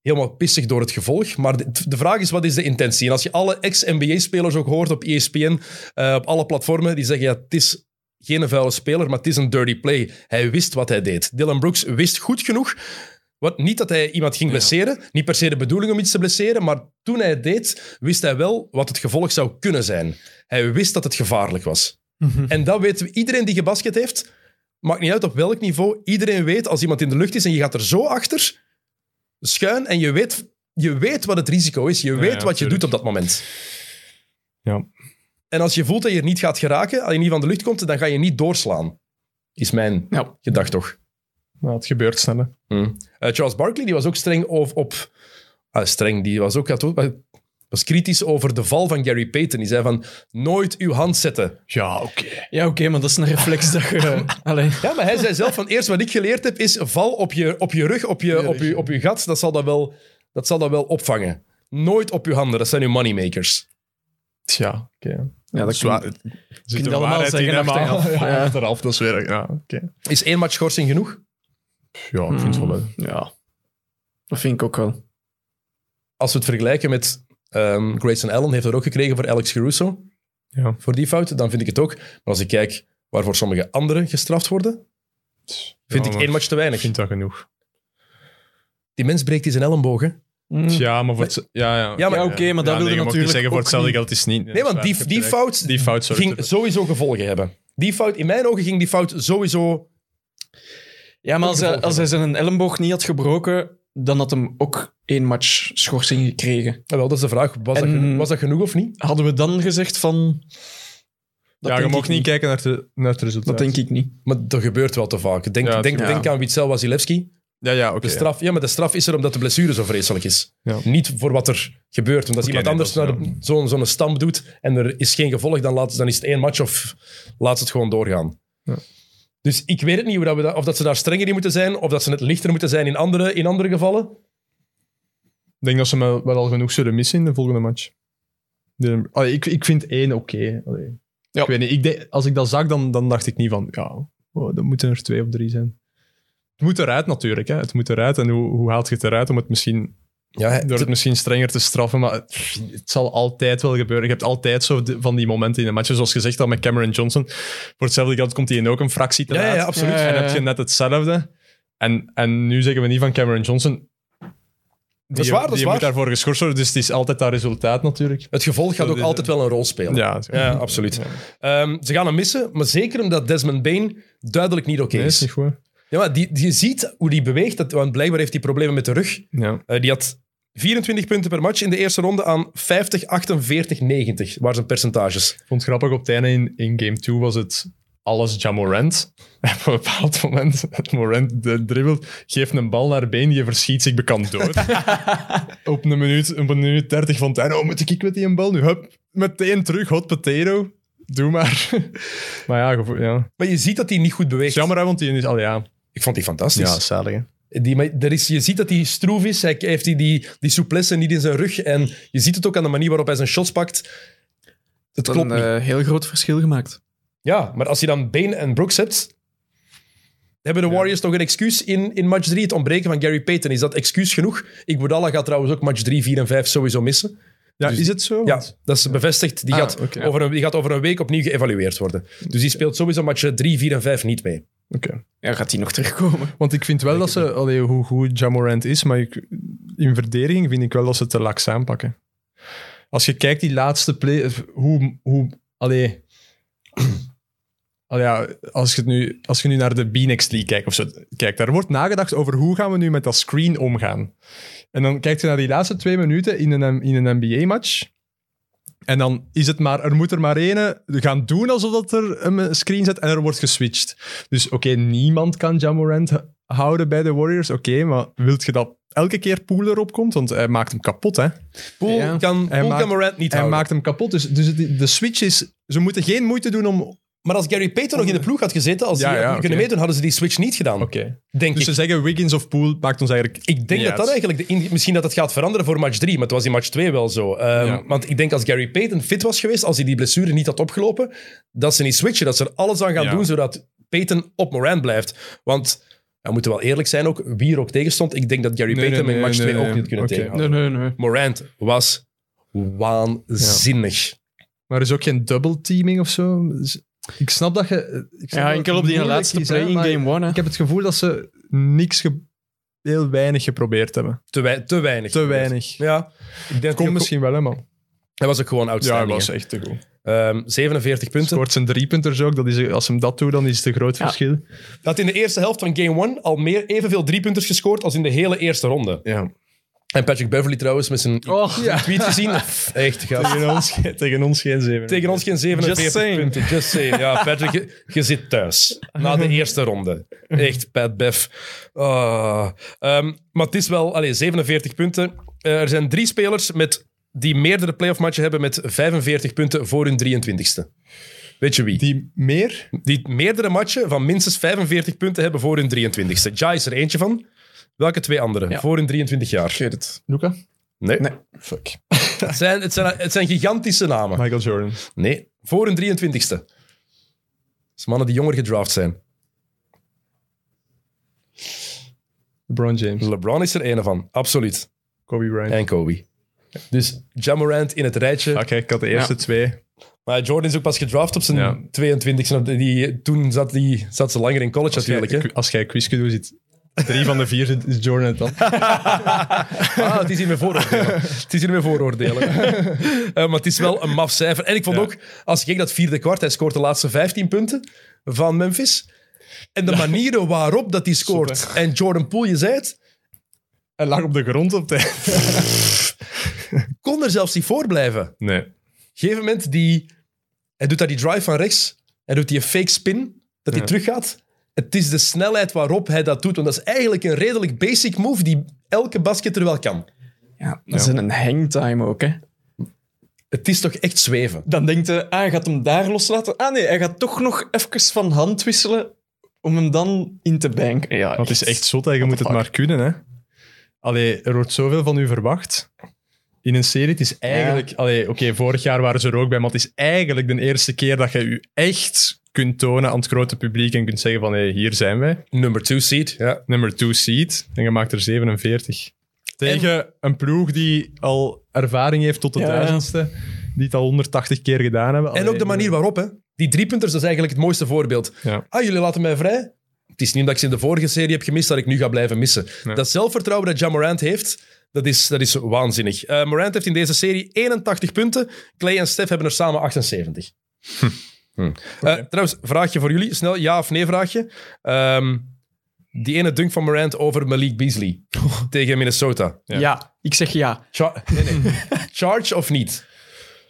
helemaal pissig door het gevolg. Maar de, de vraag is, wat is de intentie? En als je alle ex-NBA-spelers ook hoort op ESPN, eh, op alle platformen, die zeggen, ja, het is geen vuile speler, maar het is een dirty play. Hij wist wat hij deed. Dylan Brooks wist goed genoeg, wat, niet dat hij iemand ging blesseren, niet per se de bedoeling om iets te blesseren, maar toen hij het deed, wist hij wel wat het gevolg zou kunnen zijn. Hij wist dat het gevaarlijk was. En dat weet iedereen die gebasket heeft. Maakt niet uit op welk niveau. Iedereen weet als iemand in de lucht is en je gaat er zo achter, schuin, en je weet, je weet wat het risico is. Je weet ja, wat je tuurlijk. doet op dat moment. Ja. En als je voelt dat je er niet gaat geraken, als je niet van de lucht komt, dan ga je niet doorslaan. Is mijn Ja. gedacht toch. Nou, het gebeurt snel. hè. Eh, Charles Barkley die was ook streng op. op ah, streng, die was ook. had ook- was kritisch over de val van Gary Payton. Die zei van, nooit uw hand zetten. Ja, oké. Ja, oké, maar dat is een reflex dat je... Allee. Ja, maar hij zei zelf van eerst wat ik geleerd heb is val op je, op je rug, op je, op je, op je gat. Dat zal dat, wel, dat zal dat wel opvangen. Nooit op je handen, dat zijn uw moneymakers. Tja, oké. Ja, dat Zwaar. kan- Er zit je een allemaal waarheid in, zeggen hè, maar- achteraf. Ja, Ja. achteraf, dat is weer... Ja, oké. Is één match schorsing genoeg? Ja, ik vind het wel wel. Ja. Dat vind ik ook wel. Als we het vergelijken met ehm Grayson Allen, heeft dat ook gekregen voor Alex Caruso. Ja. Voor die fout, dan vind ik het ook. Maar als ik kijk waarvoor sommige anderen gestraft worden, vind Ja, ik maar één match te weinig. Ik vind dat genoeg. Die mens breekt die zijn elleboog, hè? Ja, maar voor het... Ja, ja. Ja, maar oké, maar dat wilde nee, je mag niet natuurlijk zeggen, voor ook hetzelfde niet. geld is het niet. Nee, want die, die fout Die fout zou ging sowieso gevolgen hebben. Die fout, in mijn ogen ging die fout sowieso... Ja, maar als hij, gevolg als hij zijn elleboog niet had gebroken, dan had hem ook één match schorsing gekregen. Ah, wel, dat is de vraag. Was, dat En- geno- was dat genoeg of niet? Hadden we dan gezegd van... Dat ja, je denk mag ik niet kijken naar, de, naar het Dat resultaat. denk ik niet. Maar dat gebeurt wel te vaak. Denk, Ja, denk, ja. denk aan Witzel Wasilewski. Ja, ja, oké. De straf, ja, maar de straf is er omdat de blessure zo vreselijk is. Ja. Niet voor wat er gebeurt. Omdat iemand nee, anders dat is- naar de- zo'n zo'n stamp doet en er is geen gevolg, dan, laat, dan is het één match of laat het gewoon doorgaan. Ja. Dus ik weet het niet hoe dat we dat, of dat ze daar strenger in moeten zijn of dat ze het lichter moeten zijn in andere, in andere gevallen. Ik denk dat ze wel, wel al genoeg zullen missen in de volgende match. De, allee, ik, ik vind één oké. Allee. Ja. Ik weet niet, ik denk- als ik dat zag, dan, dan dacht ik niet van, ja, oh, dat moeten er twee of drie zijn. Het moet eruit natuurlijk, hè. het moet eruit. En hoe, hoe haalt je het eruit om het misschien, Ja, door het misschien strenger te straffen? Maar het, het zal altijd wel gebeuren. Je hebt altijd zo de- van die momenten in een match. Zoals gezegd al met Cameron Johnson. Voor hetzelfde geld komt hij in ook een fractie te ja, laat. ja, absoluut. Ja, ja, En ja. heb je net hetzelfde. En, en nu zeggen we niet van Cameron Johnson. Dat is waar, dat is die waar. moet daarvoor geschorst worden, dus het is altijd dat resultaat natuurlijk. Het gevolg gaat Zo ook dit, altijd wel een rol spelen. Ja, Ja, absoluut. Ehm, ze gaan hem missen, maar zeker omdat Desmond Bain duidelijk niet oké Nee, is. is niet goed. Ja, maar die, die- je ziet hoe die beweegt, dat, want blijkbaar heeft hij problemen met de rug. Ja. Eh, die had 24 punten per match in de eerste ronde aan 50, 48, 90 waren zijn percentages. Ik vond het grappig, op het einde in, in game 2 was het alles Jamorant. En op een bepaald moment, het Morant de- dribbelt, geeft een bal naar been, je verschiet zich bekant dood. op een minuut, op een minuut 30 van het einde, oh, moet ik met die een bal nu? Hup, meteen terug, hot potato. Doe maar. maar ja, gevo- ja. Het Maar je ziet dat hij niet goed is beweegt. jammer, hè, want die is al ja. Ik vond die fantastisch. zalig. hè. Die, maar er is, je ziet dat hij stroef is. Hij heeft die, die, die souplesse niet in zijn rug. En je ziet het ook aan de manier waarop hij zijn shots pakt. Het Dat klopt een niet. eh, heel groot verschil gemaakt. Ja, maar als je dan Bane en Brooks hebt, hebben de Warriors toch een excuus in, in match 3. Het ontbreken van Gary Payton, is dat excuus genoeg? Iguodala gaat trouwens ook match 3, 4 en 5 sowieso missen. Ja, Dus- is het zo? Ja, dat is bevestigd. Die, Ah, gaat oké. over een, die gaat over een week opnieuw geëvalueerd worden. Dus die speelt sowieso match 3, 4 en 5 niet mee. Oké. Ja, gaat hij nog terugkomen? Want ik vind wel dat ze, allee, hoe goed Jamorant is, maar ik- in verdediging vind ik wel dat ze het te laks aanpakken. Als je kijkt die laatste play, hoe, hoe allee, Allee, ja, als, je het nu, als je nu naar de B-Next League kijkt, of zo, kijk, daar wordt nagedacht over hoe gaan we nu met dat screen omgaan. En dan kijk je naar die laatste twee minuten in een, in een NBA-match. En dan is het maar, er moet er maar ene gaan doen alsof dat er een screen zit en er wordt geswitcht. Dus oké, niemand kan Jamorant h- houden bij de Warriors. Oké, maar wilt je dat elke keer Poel erop komt? Want hij maakt hem kapot, hè? Poel Ja. kan, Hij Poel maakt- kan Morant niet Hij houden. maakt hem kapot. Dus, dus het- de switch is... Ze moeten geen moeite doen om... Oké. maar als Gary Payton nog in de ploeg had gezeten, als Ja, die had ja, kunnen oké. meedoen, hadden ze die switch niet gedaan. Denk Dus ik. ze zeggen Wiggins of Poel maakt ons eigenlijk... Ik denk niet dat dat uit. eigenlijk... De, in- misschien dat het gaat veranderen voor match 3, maar het was in match 2 wel zo. Ehm, Ja. Want ik denk als Gary Payton fit was geweest, als hij die blessure niet had opgelopen, dat ze niet switchen, dat ze er alles aan gaan Ja. doen zodat Payton op Moran blijft. Want, we moeten wel eerlijk zijn ook, wie er ook tegen stond, ik denk dat Gary Nee, Payton nee, in match nee, 2 nee, ook nee. niet kunnen Oké. tegenhouden. Nee, nee, nee. Morant was waanzinnig. Maar er is ook geen double-teaming of zo. Dus ik snap dat je... Ik snap Ja, dat enkel op het die moeilijk laatste is, hè, play in maar game one. hè. Ik heb het gevoel dat ze niks... ge- heel weinig geprobeerd hebben. Te, wei- te weinig. Te weinig. Ja. Ik denk Komt ook- misschien wel, hè, man. Hij was ook gewoon outstanding. hè. echt te goed. Ehm, 47 punten. Scoort zijn driepunters ook. Dat is, als hem dat doet, dan is het een groot Ja. verschil. Hij had in de eerste helft van game 1 al meer, evenveel driepunters gescoord als in de hele eerste ronde. Ja. En Patrick Beverly trouwens met zijn Och, zijn tweet gezien. Echt, gast. Tegen ons, ge- tegen ons geen zeven. Tegen ons geen 47 Just saying. punten. Just saying. Ja, Patrick, je, je zit thuis. Na de eerste ronde. Echt, Pat Bev. Ah. Ehm, maar het is wel... Allee, 47 punten. Eh, er zijn drie spelers met, die meerdere playoff matchen hebben met 45 punten voor hun 23ste. Weet je wie? Die meer? die meerdere matchen van minstens 45 punten hebben voor hun 23ste. Jai is er eentje van. Welke twee anderen? Ja. Voor hun 23 jaar. Ik weet het. Luca? Nee. Nee. Fuck. Het, zijn, het, zijn, het zijn gigantische namen. Michael Jordan. Nee. Voor hun 23ste. Dat is mannen die jonger gedraft zijn. LeBron James. LeBron is er een van. Absoluut. Kobe Bryant. En Kobe. Dus Jamorant in het rijtje. Oké, ik had de eerste twee. Maar Jordan is ook pas gedraft op zijn Ja. 22ste. Die, toen zat, die, zat ze langer in college Als natuurlijk. Hè? jij, als jij quizje doet, zit drie van de vier zit- is Jordan het dan. Ah, het is hier met vooroordelen. Het is hier met vooroordelen. Eh, maar het is wel een maf cijfer. En ik vond ook, als ik keek dat vierde kwart, hij scoort de laatste 15 punten van Memphis. En de manieren waarop dat hij scoort. En Jordan Poole, je zei het, Hij lag op de grond op tijd. kon er zelfs niet voor blijven. Op Nee. een gegeven moment die... Hij doet daar die drive van rechts. Hij doet die fake spin, dat hij teruggaat. Het is de snelheid waarop hij dat doet. Want dat is eigenlijk een redelijk basic move die elke basketter wel kan. Ja, dat is een hangtime ook, hè. Het is toch echt zweven. Dan denkt hij, ah, hij gaat hem daar loslaten. Ah nee, hij gaat toch nog even van hand wisselen om hem dan in te banken. Ja, Dat is echt zot, hè. je moet het maar kunnen. Hè. Allee, er wordt zoveel van u verwacht. In een serie, het is eigenlijk... allee, Oké, vorig jaar waren ze er ook bij, maar het is eigenlijk de eerste keer dat je je echt kunt tonen aan het grote publiek en kunt zeggen van, hé, hier zijn wij. Number two seed, ja. Number two seed. En je maakt er 47. Tegen een ploeg die al ervaring heeft tot de Ja. duizendste. Die het al 180 keer gedaan hebben. En Allee, ook de manier waarop, hè. Die driepunters, dat is eigenlijk het mooiste voorbeeld. Ja. Ah, jullie laten mij vrij. Het is niet omdat ik ze in de vorige serie heb gemist dat ik nu ga blijven missen. Nee. Dat zelfvertrouwen dat Ja Morant heeft, dat is, dat is waanzinnig. Eh, Morant heeft in deze serie 81 punten. Clay en Steph hebben er samen 78. Hm. Eh, trouwens, vraagje voor jullie. Snel ja of nee vraagje. Ehm, die ene dunk van Morant over Malik Beasley tegen Minnesota. Ja. ik zeg ja. Char- nee, nee. Charge of niet?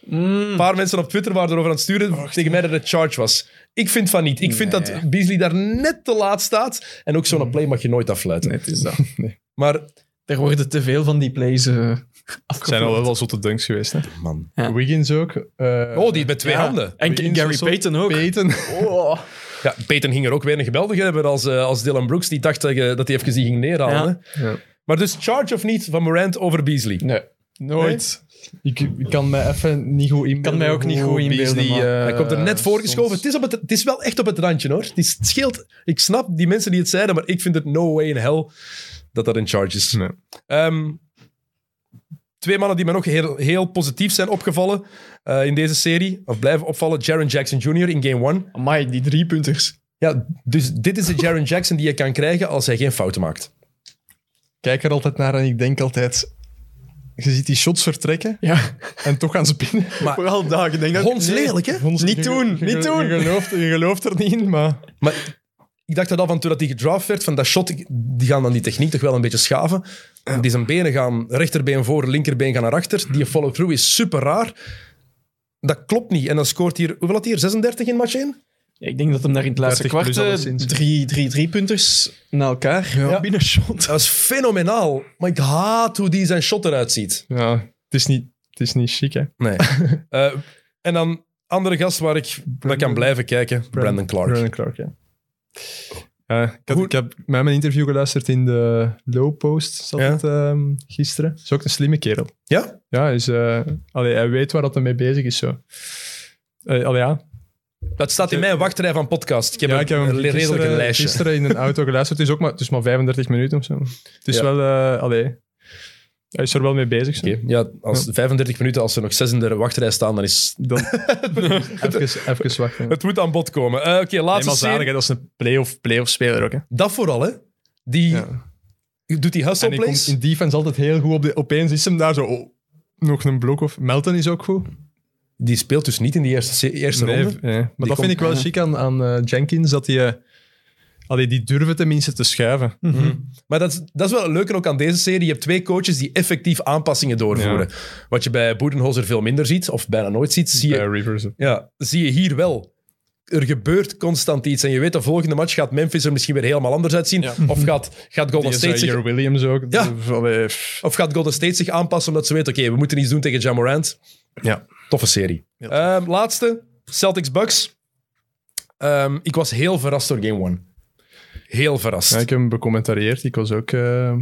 Een paar mensen op Twitter waren erover aan het sturen tegen mij dat het charge was. Ik vind van niet. Ik vind dat Beasley daar net te laat staat. En ook zo'n play mag je nooit afluiten. Nee, het is dat. Maar Er worden te veel van die plays eh Het zijn al wel wel zotte dunks geweest. Hè. man. Ja. Wiggins ook. eh, Oh, die met twee Ja. handen. En Wiggins Gary was zot. Payton ook. Payton. Oh. Ja, Peyton ging er ook weer een geweldige hebben als, eh, als Dylan Brooks. Die dacht dat, je- dat hij even die ging neerhalen. hè. Ja. Maar dus charge of niet van Morant over Beasley. Nee, nooit. Ik, ik kan mij even niet goed inbeelden. Kan mij ook niet hoe goed inbeelden, Beasley, maar- eh, Hij komt er net voor soms- geschoven. Het is, op het, het is wel echt op het randje hoor. Het, is, het scheelt. Ik snap die mensen die het zeiden, maar ik vind het no way in hell dat dat een charge is. Nee. Ehm, twee mannen die me nog heel, heel positief zijn opgevallen eh, in deze serie, of blijven opvallen, Jaron Jackson Jr. in game 1. Amai, die driepunters. Ja, dus dit is de Jaron Jackson die je kan krijgen als hij geen fouten maakt. kijk er altijd naar en ik denk altijd... Je ziet die shots vertrekken Ja, en toch gaan ze binnen. vooral daar. Ik denk dat... Hons lelijk, hè? Niet doen, Je- je- niet doen. Je gelooft, je gelooft er niet in, maar... Maar ik dacht dat al van toen dat hij gedraft werd, van dat shot, ik- die gaan dan die techniek toch wel een beetje schaven. En die zijn benen gaan, rechterbeen voor, linkerbeen gaan naar achter. Die follow-through is super raar. Dat klopt niet. En dan scoort hier, hoeveel had hij hier? 36 in match 1? Ik denk dat hem daar in het laatste 30 kwart plus eh, alleszins. drie, drie driepunters na elkaar Ja. ja. binnen shot. Dat is fenomenaal. Maar ik haat hoe die zijn shot eruit ziet. Ja, het is niet, het is niet chic, hè. Nee. Eh, en dan andere gast waar ik naar kan blijven kijken, Brandon Clark. Brandon Clark, ja. Ja, ik, had, ik heb met mijn interview geluisterd in de Low Post zat Ja. het, ehm, gisteren. Is ook een slimme kerel. Ja? Ja, hij is, eh, allee, hij weet waar dat hij mee bezig is. Zo. Eh, allee, ja, Dat staat in mijn wachtrij van podcast. Ik heb ja, een, ik heb hem redelijk een gisteren, lijstje. gisteren in een auto geluisterd. Het is, ook maar, het is maar 35 minuten of zo. Het is Ja. wel... eh, allee, hij is er wel mee bezig. zo. Oké, Ja, als 35 minuten, als ze nog zes in de wachtrij staan, dan is Dan, even, even wachten. Het moet aan bod komen. Eh, Oké, Nee, laatste maar zalig, serie. hè, dat is een playoff, playoff speler ook. Hè. Dat vooral, hè. Die Ja. doet die hustle En hij plays. komt in defense altijd heel goed op. De, opeens is hem daar zo... oh, nog een blok of... Melton is ook goed. Die speelt dus niet in die eerste, se- eerste ronde. v- Maar dat komt- Ah. vind ik wel chic aan, aan eh, Jenkins, dat hij... eh, allee, die durven tenminste te schuiven. Maar dat is, dat is wel het leuke ook aan deze serie. Je hebt twee coaches die effectief aanpassingen doorvoeren. Wat je bij Boedenholzer veel minder ziet, of bijna nooit ziet, zie Bij je, Eh, Rivers. ja, zie je hier wel. Er gebeurt constant iets. En je weet, de volgende match gaat Memphis er misschien weer helemaal anders uitzien. Of gaat, gaat Golden Die State is, zich eh, Williams ook. Ja. Allee, pff. Of gaat Golden State zich aanpassen omdat ze weten, oké, we moeten iets doen tegen Ja Morant? Ja. Toffe serie. Heel Ehm, laatste, Celtics-Bucks. Ehm, ik was heel verrast door Game 1. Heel verrast. Ja, ik heb hem becommentarieerd. Ik was ook eh,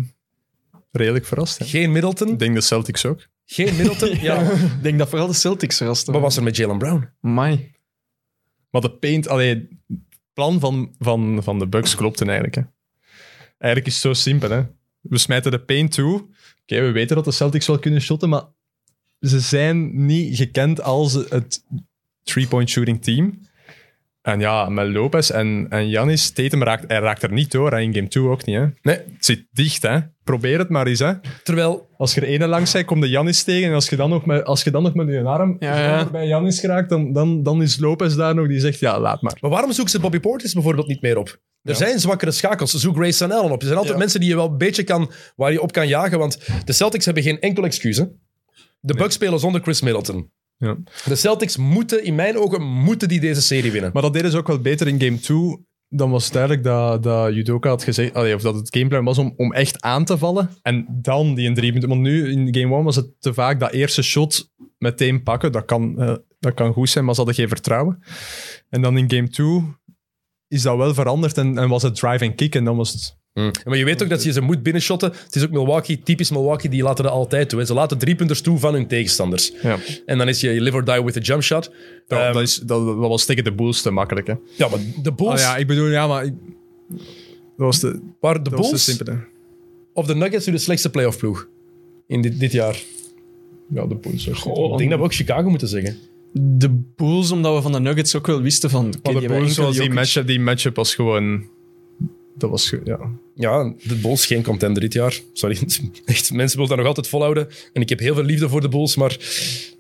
redelijk verrast. Hè. Geen Ik Middleton. denk de Celtics ook. Geen Middleton. ja. Ik denk dat vooral de Celtics verrasten. Wat was er met Jalen Brown? Amai. Maar de paint, allee, het plan van, van, van de Bucks klopte eigenlijk. Hè. Eigenlijk is het zo simpel. Hè. We smijten de paint toe. Oké, we weten dat de Celtics wel kunnen shotten, maar ze zijn niet gekend als het three-point shooting team. En ja, met Lopez en, en Janis, Tatum raakt, hij raakt er niet door. En in game 2 ook niet. Hè. Nee. Het zit dicht, hè. Probeer het maar eens, hè. Terwijl, Als je er ene langs bent, komt de Janis tegen. En als je dan nog met, als je dan nog met je arm Ja, ja. bij Janis geraakt, dan, dan, dan is Lopez daar nog. Die zegt, ja, laat maar. maar waarom zoeken ze Bobby Portis bijvoorbeeld niet meer op? Er zijn zwakkere schakels. Zoek Grayson Allen op. Er zijn altijd mensen die je wel een beetje kan, waar je op kan jagen. Want de Celtics hebben geen enkel excuus. hè. De Bucks spelen zonder Chris Middleton. Ja. De Celtics moeten, in mijn ogen, moeten die deze serie winnen. Maar dat deden ze ook wel beter in game 2. Dan was het duidelijk dat, dat Judoka had gezegd, allee, of dat het gameplan was om, om echt aan te vallen. En dan die in drie punten. Want nu in game 1 was het te vaak dat eerste shot meteen pakken. Dat kan, eh, dat kan goed zijn, maar ze hadden geen vertrouwen. En dan in game 2 is dat wel veranderd en, en was het drive en kick. En dan was het Maar je weet ook dat je ze moet binnenshotten. Het is ook Milwaukee, typisch Milwaukee, die laten dat altijd toe. hè. Ze laten driepunters toe van hun tegenstanders. Ja. En dan is je live or die with a jump shot. Ja, Ehm, dat, is, dat, dat was tegen de Bulls te makkelijk. Hè? ja, maar de Bulls, Ah, ja, ik bedoel, ja, maar. ik- dat was de, waren de dat was de Bulls simpele. of de Nuggets nu de slechtste playoff ploeg in dit, dit jaar? Ja, de Bulls. ook. ik denk dat we ook Chicago moeten zeggen. De Bulls, omdat we van de Nuggets ook wel wisten van... oké, Maar die de hebben Bulls enkel was die Jokic. matchup, die matchup was gewoon. Dat was ge- ja. Ja, de Bulls geen contender dit jaar. Sorry, echt, mensen willen dat nog altijd volhouden. En ik heb heel veel liefde voor de Bulls, maar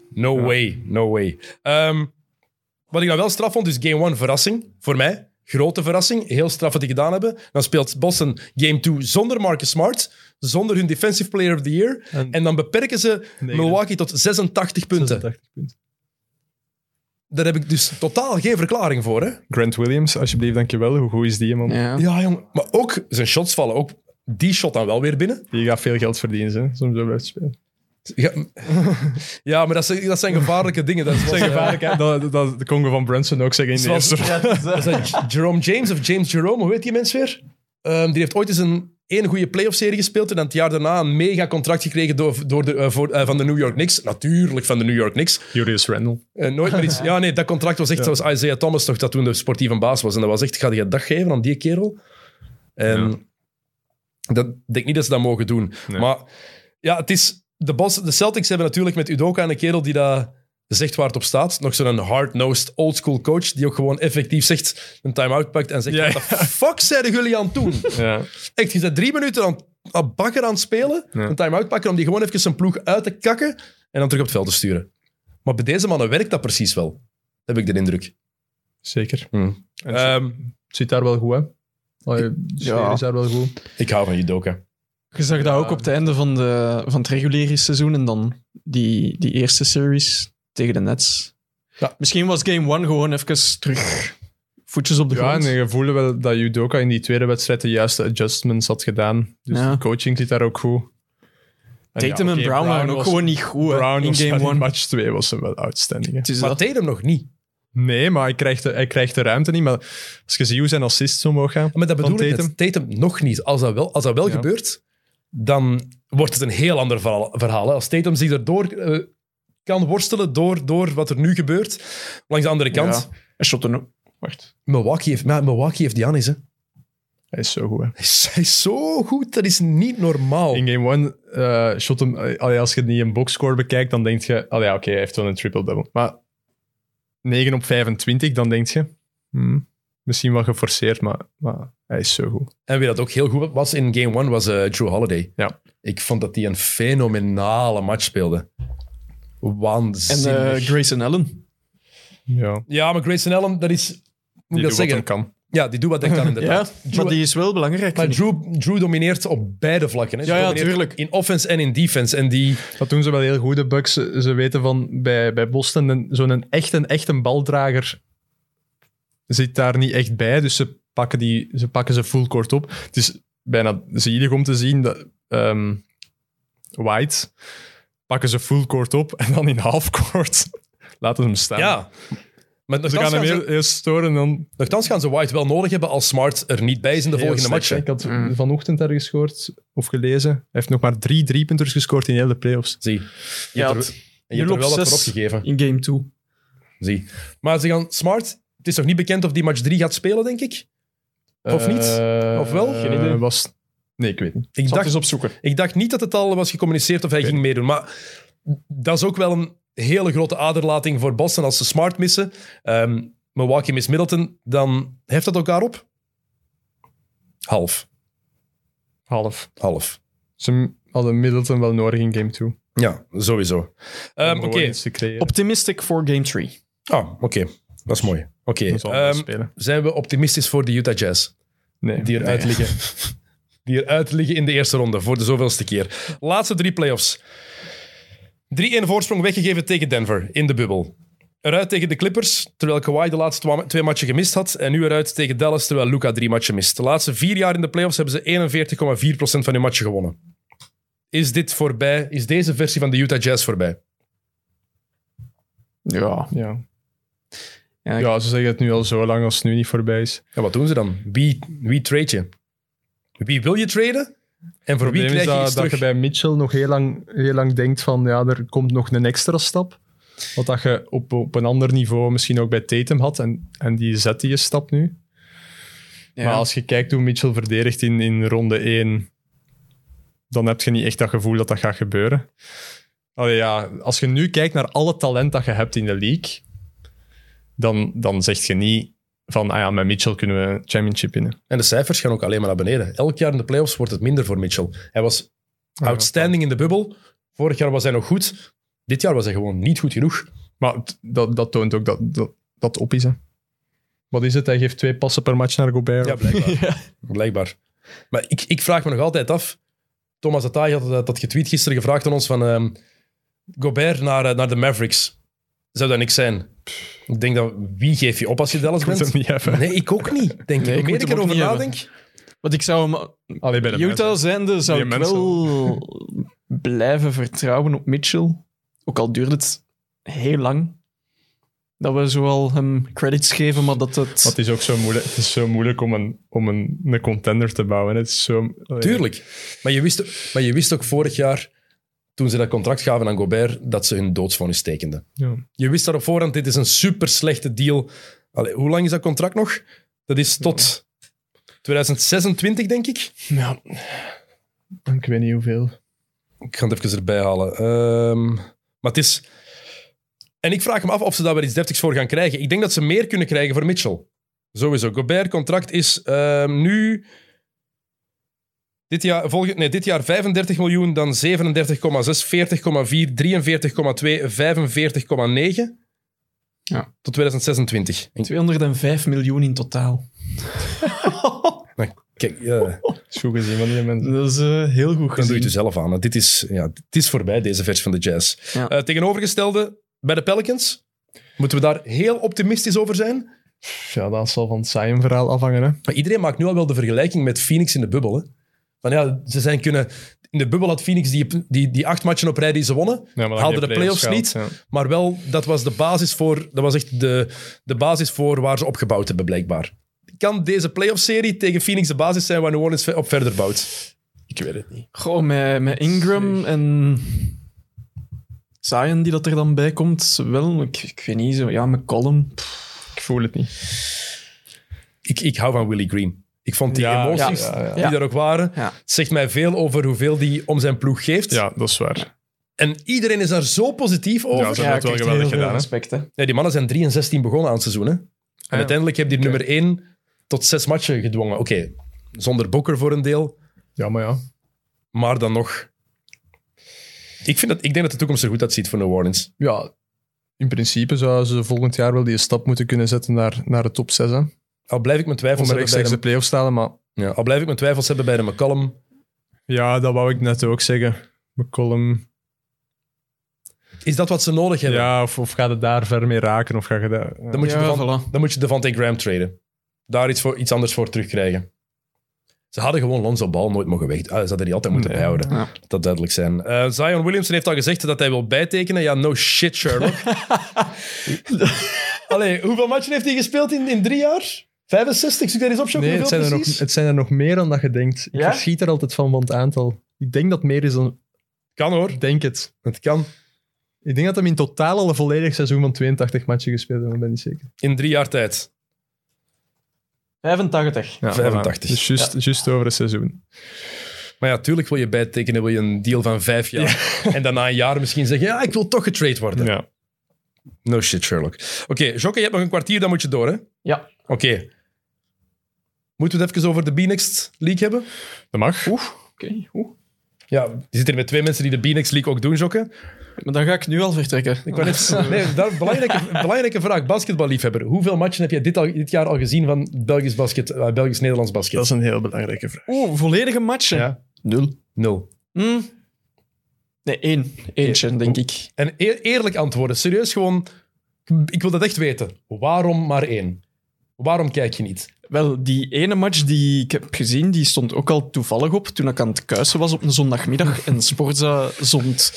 no way, no way. Ehm, wat ik nou wel straf vond, dus game 1 verrassing voor mij. Grote verrassing, heel straf wat die gedaan hebben. Dan speelt Boston game 2 zonder Marcus Smart, zonder hun Defensive Player of the Year. En, En- dan beperken ze Milwaukee tot 86 punten. 80 punten. Daar heb ik dus totaal geen verklaring voor. Hè? Grant Williams, alsjeblieft, dankjewel. Hoe goed is die man? Ja. Ja, jong. Maar ook zijn shots vallen, ook die shot dan wel weer binnen. Die gaat veel geld verdienen, hè, soms zo blijft spelen. Ja, ja maar dat zijn, dat zijn gevaarlijke dingen. Dat is Dat is gevaarlijk, hè? Dat, dat de Congo van Brunson ook zeggen in de Zoals, eerste ja, dat is eh, dat Jerome James of James Jerome, hoe heet die mens weer? Ehm, die heeft ooit eens een één goede playoff-serie gespeeld en dan het jaar daarna een mega contract gekregen door, door de, eh, voor, eh, van de New York Knicks. Natuurlijk van de New York Knicks. Julius Randle. Eh, nooit meer iets. Ja, nee, dat contract was echt zoals Isaiah Thomas toch, dat toen de sportieve baas was. En dat was echt, ga je dag geven aan die kerel? En dat ik denk niet dat ze dat mogen doen. Nee. Maar ja, het is... De, Bos, de Celtics hebben natuurlijk met Udoka een kerel die daar zegt waar het op staat. Nog zo'n hard-nosed oldschool coach die ook gewoon effectief zegt, een time-out pakt en zegt, Ja, what the fuck zeiden jullie aan het doen? Ja. Echt, je bent drie minuten aan, aan bakker aan het spelen, Ja. een time-out pakken om die gewoon even zijn ploeg uit te kakken en dan terug op het veld te sturen. Maar bij deze mannen werkt dat precies wel. Heb ik de indruk. Zeker. Hmm. En het Ehm, zit daar wel goed, hè? Allee, de sfeer is daar wel goed. ik hou van Judoka. Je zag dat ook Ja. op het einde van, de, van het reguliere seizoen en dan die, die eerste series tegen de Nets. Ja. Misschien was game one gewoon even terug voetjes op de Ja, grond. en je voelde wel dat Judoka in die tweede wedstrijd de juiste adjustments had gedaan. Dus Ja. de coaching zit daar ook goed. En Tatum ja, en oké, Brown waren ook was- gewoon niet goed hè, Brown in was game wel in one. match 2 was hem wel uitstending. hè. Het is Maar dat. Tatum nog niet. Nee, maar hij krijgt, de, hij krijgt de ruimte niet. Maar als je ziet hoe zijn assists omhoog gaan... Maar dat van bedoel ik Tatum. net. Tatum nog niet. Als dat wel, als dat wel Ja. gebeurt, dan wordt het een heel ander verhaal. verhaal, hè. Als Tatum zich erdoor eh, kan worstelen door, door wat er nu gebeurt, langs de andere kant. Ja. Hij shot er ook. Wacht. Milwaukee, heeft, maar Milwaukee heeft Giannis. Hè. Hij is zo goed, hè. Hij, is, hij is zo goed, dat is niet Oh. normaal. In game 1 shot hem... eh, allee, als je het niet in boxscore bekijkt, dan denk je... allee, oké, hij heeft wel een triple-double. Maar 9 op 25, dan denk je... hmm, misschien wel geforceerd, maar, maar hij is zo goed. En wie dat ook heel goed was in game one was eh Drew Holiday. Ja. Ik vond dat hij een fenomenale match speelde. En Waanzinnig. eh Grayson Allen. Ja, ja, maar Grayson Allen, dat is... Moet ik dat die doet wat zeggen? hem kan. Ja, die doet wat hij kan Ja, inderdaad. Drew- maar die is wel belangrijk. maar vind ik. Drew, Drew domineert op beide vlakken. Hè. Ze Ja, ja, domineert tuurlijk. In offense en in defense. En die... Dat doen ze wel heel goed, de Bucks. Ze, ze weten van bij, bij Boston, een- zo'n echt een, echt een baldrager zit daar niet echt bij. Dus ze pakken, die, ze, pakken ze full court op. Het is bijna zielig om te zien dat ehm, White pakken ze full court op en dan in half court laten ze hem staan. Dus Ja. Maar Ze nogthans gaan gaan, hem heel, ze, heel storen en dan... nogthans gaan ze White wel nodig hebben als Smart er niet bij is in de volgende Mm. match. Ik had vanochtend daar gescoord of gelezen. Hij heeft nog maar drie driepunters gescoord in heel de playoffs. Zie. Je Ja, hebt het- er, en je hebt er nul op wel wat voor zes. opgegeven. In game two. Zie. Maar ze gaan Smart... Het is nog niet bekend of die match 3 gaat spelen, denk ik. Of niet? Eh, Of wel? Geen idee. Was... Nee, ik weet niet. Ik dacht, opzoeken. ik dacht niet dat het al was gecommuniceerd of hij ging meedoen. Maar dat is ook wel een hele grote aderlating voor Boston als ze Smart missen. Ehm, Milwaukee miss Middleton, dan heft dat elkaar op? Half. Half. Half. Ze hadden Middleton wel nodig in game 2. Ja, sowieso. Ehm, Oké. Op Optimistic voor game three. Ah, oké. Dat is mooi. Oké. Ehm, spelen. zijn we optimistisch voor de Utah Jazz? Nee. die eruit Nee. liggen. Die eruit liggen in de eerste ronde voor de zoveelste keer. Laatste drie playoffs. 3-1 voorsprong weggegeven tegen Denver in de bubbel. Eruit tegen de Clippers, terwijl Kawhi de laatste twa- twee matchen gemist had. En nu eruit tegen Dallas, terwijl Luca drie matchen mist. De laatste vier jaar in de playoffs hebben ze 41,4% van hun matchen gewonnen. Is dit voorbij? Is deze versie van de Utah Jazz voorbij? Ja. Ja. Ja, ja, ze zeggen het nu al zo lang als het nu niet voorbij is. Ja, wat doen ze dan? Wie, wie trade je? Wie wil je traden? En voor wie probleem krijg je is dat, iets terug? dat je bij Mitchell nog heel lang, heel lang denkt van ja, er komt nog een extra stap. Wat dat je op, op een ander niveau misschien ook bij Tatum had. En, en die zet die stap nu. Ja. Maar als je kijkt hoe Mitchell verdedigt in, in ronde 1, dan heb je niet echt dat gevoel dat dat gaat gebeuren. Allee, ja, als je nu kijkt naar alle talent dat je hebt in de league, dan, dan zeg je niet van ah ja, met Mitchell kunnen we een championship winnen. En de cijfers gaan ook alleen maar naar beneden. Elk jaar in de playoffs wordt het minder voor Mitchell. Hij was outstanding in de bubbel. Vorig jaar was hij nog goed. Dit jaar was hij gewoon niet goed genoeg. Maar t- dat, dat toont ook dat, dat, dat het op is. Hè. Wat is het? Hij geeft twee passen per match naar Gobert. Ja, blijkbaar. blijkbaar. Maar ik, ik vraag me nog altijd af. Thomas Atai had dat, dat getweet gisteren gevraagd aan ons van ehm, Gobert naar, eh, naar de Mavericks. Zou dat niks zijn? Ik denk dat wie geef je op als je Dallas Ik moet bent? hem niet hebben. Nee, ik ook niet. Denk Nee, ik. Hoe ik meer moet ik hem ook erover niet nadenk, Want ik zou hem Allee, bij de Utah mensen. zijnde zou Die ik mensen. wel blijven vertrouwen op Mitchell. Ook al duurde het heel lang dat we zoal hem credits geven, maar dat het... Maar het is ook zo moeilijk, het is zo moeilijk om, een, om een, een contender te bouwen. Het is zo, allee. Tuurlijk. Maar je, wist, maar je wist ook vorig jaar, toen ze dat contract gaven aan Gobert, dat ze hun doodsvonnis tekenden. Ja. Je wist daar op voorhand, dit is een super slechte deal. Allee, hoe lang is dat contract nog? Dat is tot 2026, denk ik. Ja. Ik weet niet hoeveel. Ik ga het even erbij halen. Ehm, maar het is... En ik vraag me af of ze daar wel iets deftigs voor gaan krijgen. Ik denk dat ze meer kunnen krijgen voor Mitchell. Sowieso. Gobert contract is ehm, nu... Dit jaar, volgend, nee, dit jaar 35 miljoen, dan 37,6, 40,4, 43,2, 45,9. Ja. Tot 2026. 205 miljoen in totaal. Kijk, ja, is goed gezien van die mensen. Dat is eh, heel dan doe goed je gezien. het dus- jezelf aan. hè. Dit is, ja, dit is voorbij, deze versie van de jazz. Ja. Eh, tegenovergestelde, bij de Pelicans, moeten we daar heel optimistisch over zijn? Ja, dat zal van het Zion-verhaal afhangen. Hè. Maar iedereen maakt nu al wel de vergelijking met Phoenix in de bubbel. Hè? Van ja, ze zijn kunnen... In de bubbel had Phoenix die, die, die acht matchen op rij die ze wonnen. Ja, maar Haalden de playoffs niet. Maar wel, dat was de basis voor... Dat was echt de, de basis voor waar ze opgebouwd hebben, blijkbaar. Kan deze playoff-serie tegen Phoenix de basis zijn waar New Orleans ve- op verder bouwt? Ik weet het niet. Goh, met, met Ingram en Zion die dat er dan bij komt, wel, ik, ik weet niet, zo, ja, McCollum. Pff, Ik voel het niet. Ik, ik hou van Willie Green. Ik vond die Ja, emoties ja, ja, ja. die Ja. daar ook waren... Ja. Het zegt mij veel over hoeveel die om zijn ploeg geeft. Ja, dat is waar. En iedereen is daar zo positief over. Ja, ze hebben ja, het wel krijgt geweldig heel veel gedaan, hè. respect, hè. Nee, die mannen zijn 3 en 16 begonnen aan het seizoen. Hè? En Ah, ja. uiteindelijk heb die nummer 1 tot 6 matchen gedwongen. Oké, zonder Bokker voor een deel, Ja, maar ja. maar dan nog. Ik, vind dat, ik denk dat de toekomst er goed uitziet voor New Orleans. Ja, in principe zouden ze volgend jaar wel die stap moeten kunnen zetten naar, naar de top 6. Hè. Al blijf ik mijn twijfels, Om hebben bij rechtstreeks de de, playoffs te halen, maar... ja, al blijf ik mijn twijfels hebben bij de McCallum. Ja, dat wou ik net ook zeggen. McCollum. Is dat wat ze nodig hebben? Ja, of, of ga je daar ver mee raken, of ga je daar... Dan moet je Ja, ervan- voilà. Dan moet je Devante Graham traden. Daar iets, voor, iets anders voor terugkrijgen. Ze hadden gewoon Lonzo Ball nooit mogen weg. Ah, ze hadden die altijd moeten Nee. bijhouden. Ja. Dat Dat duidelijk zijn. Eh, Zion Williamson heeft al gezegd dat hij wil bijtekenen. Ja, no shit, Sherlock. Allee, hoeveel matchen heeft hij gespeeld in, in drie jaar? 65? Zoek daar eens op, Sjoerd, Nee, het zijn, hoeveel er nog, precies? het zijn er nog meer dan dat je denkt. Ik Ja? verschiet er altijd van, van het aantal. Ik denk dat het meer is dan... Kan hoor, Ik denk het. het kan. Ik denk dat hem in totaal al een volledig seizoen van 82 matchen gespeeld heeft, maar ik ben niet zeker. In drie jaar tijd. 85. Ja, 85. Dus juist, juist over een seizoen. Maar ja, tuurlijk wil je bijtekenen, wil je een deal van vijf jaar. En daarna een jaar misschien zeggen, ja, ik wil toch getrade worden. Ja. No shit, Sherlock. Oké, Jokke, je hebt nog een kwartier, dan moet je door, hè? Ja. Oké. Moeten we het even over de B-Next League hebben? Dat mag. Oké, oeh. Ja, je zit hier met twee mensen die de B-Next League ook doen, Jokke. Maar dan ga ik nu al vertrekken. Ik wou net- nee, daar, belangrijke, belangrijke vraag, basketballiefhebber. Hoeveel matchen heb je dit, al, dit jaar al gezien van Belgisch basket, eh, Belgisch-Nederlands basket? Dat Oh, is een heel belangrijke vraag. Oeh, volledige matchen. Ja. Nul. Nul. Hmm. Nee, één. Eentje, denk ik. En eer- eerlijk antwoorden. Serieus gewoon, ik wil dat echt weten. Waarom maar één? Waarom kijk je niet? Wel, die ene match die ik heb gezien, die stond ook al toevallig op toen ik aan het kuisen was op een zondagmiddag. En Sporza zond,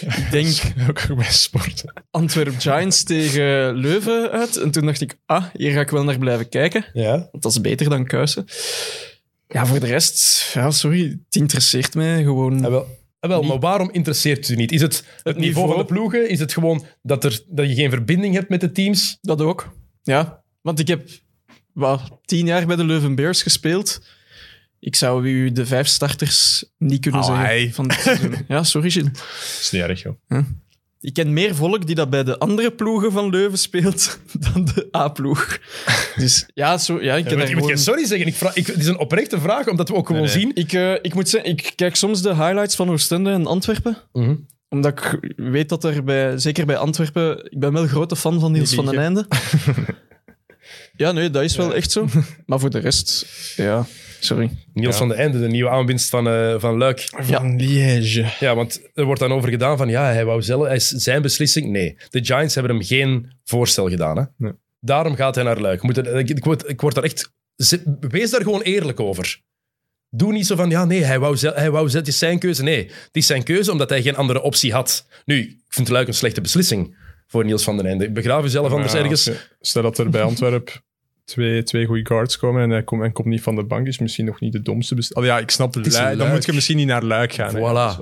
ik denk, Ook bij sport. Antwerp Giants tegen Leuven uit. En toen dacht ik, ah, hier ga ik wel naar blijven kijken. Ja. Want dat is beter dan kuisen. Ja, voor de rest, ja, sorry, het interesseert mij gewoon. En Ah, wel, en wel maar waarom interesseert het u niet? Is het het, niveau, niveau? van de ploegen? Is het gewoon dat, er, dat je geen verbinding hebt met de teams? Dat ook. Ja, want ik heb wat, tien jaar bij de Leuven Bears gespeeld. Ik zou u de vijf starters niet kunnen Allee. zeggen. Van dit seizoen. ja, sorry, Gilles. is niet erg, joh. Ik ken meer volk die dat bij de andere ploegen van Leuven speelt dan de A-ploeg. Dus ja, zo, ja ik Je ken moet, je daar moet gewoon- geen sorry zeggen. Ik vraag, ik, het is een oprechte vraag, omdat we ook gewoon Nee, nee. zien... Ik, eh, ik moet zeggen, ik kijk soms de highlights van Oostende en Antwerpen. Mhm. Omdat ik weet dat er, bij, zeker bij Antwerpen, ik ben wel grote fan van Niels Die van den Einde. ja, nee, dat is wel echt zo. Maar voor de rest, ja, sorry. Niels van de Ende, de nieuwe aanwinst van, eh, van Luik. Van Liège. Ja, want er wordt dan over gedaan van ja, hij wou zelf, hij is zijn beslissing. Nee, de Giants hebben hem geen voorstel gedaan. Hè? Nee. Daarom gaat hij naar Luik. Moet het- ik, ik word, ik word daar echt. ze- Wees daar gewoon eerlijk over. Doe niet zo van ja, nee, hij wou, zel- hij wou, zel- het is zijn keuze. Nee, het is zijn keuze omdat hij geen andere optie had. Nu, ik vind Luik een slechte beslissing voor Niels van den Einde. Begraaf jezelf anders Maar ja, ergens. als je- Stel dat er bij Antwerp twee, twee goede guards komen en hij komt en komt niet van de bank, is misschien nog niet de domste best- Allee, ja, ik snap het. is Lui- Dan Luik. moet je misschien niet naar Luik gaan. hè. Voilà.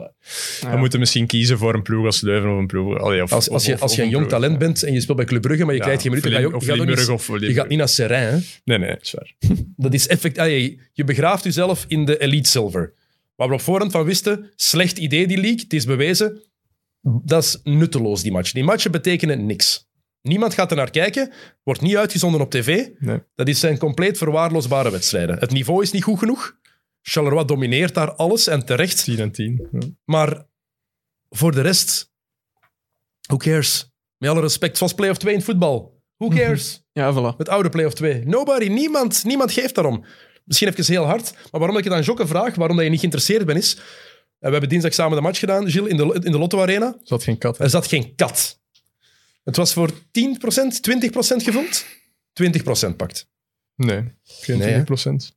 Dan moet je misschien kiezen voor een ploeg als Leuven of een ploeg... Allee, of, Als, of- als, je, of- als je of een jong ploeg- talent bent en je speelt bij Club Brugge, maar je Ja, krijgt geen of minuten, ga je Lim- ook, of je gaat, ook niet, Limburg of je gaat Limburg. niet naar Seraing. Hè? Nee, nee, zwaar. Dat is effect. allee, je begraaft jezelf in de Elite Silver. Waar we op voorhand van wisten, slecht idee die league, het is bewezen. Dat is nutteloos, die match. Die matchen betekenen niks. Niemand gaat er naar kijken, wordt niet uitgezonden op tv. Nee. Dat is zijn compleet verwaarloosbare wedstrijden. Het niveau is niet goed genoeg. Charleroi domineert daar alles en terecht. 10 en 10. Ja. Maar voor de rest, who cares? Met alle respect, zoals play of 2 in het voetbal. Who cares? Ja, voilà. Het oude play of 2. Nobody, niemand, niemand geeft daarom. Misschien even heel hard, maar waarom ik het aan Jokke vraag, waarom dat je niet geïnteresseerd bent, is... eh, We hebben dinsdag samen de match gedaan, Gilles, in de, in de Lotto Arena. Zat geen kat. Er zat geen kat. Het was voor 10%, 20% gevuld. 20% pakt. Nee, Nee, geen hè? 20 procent.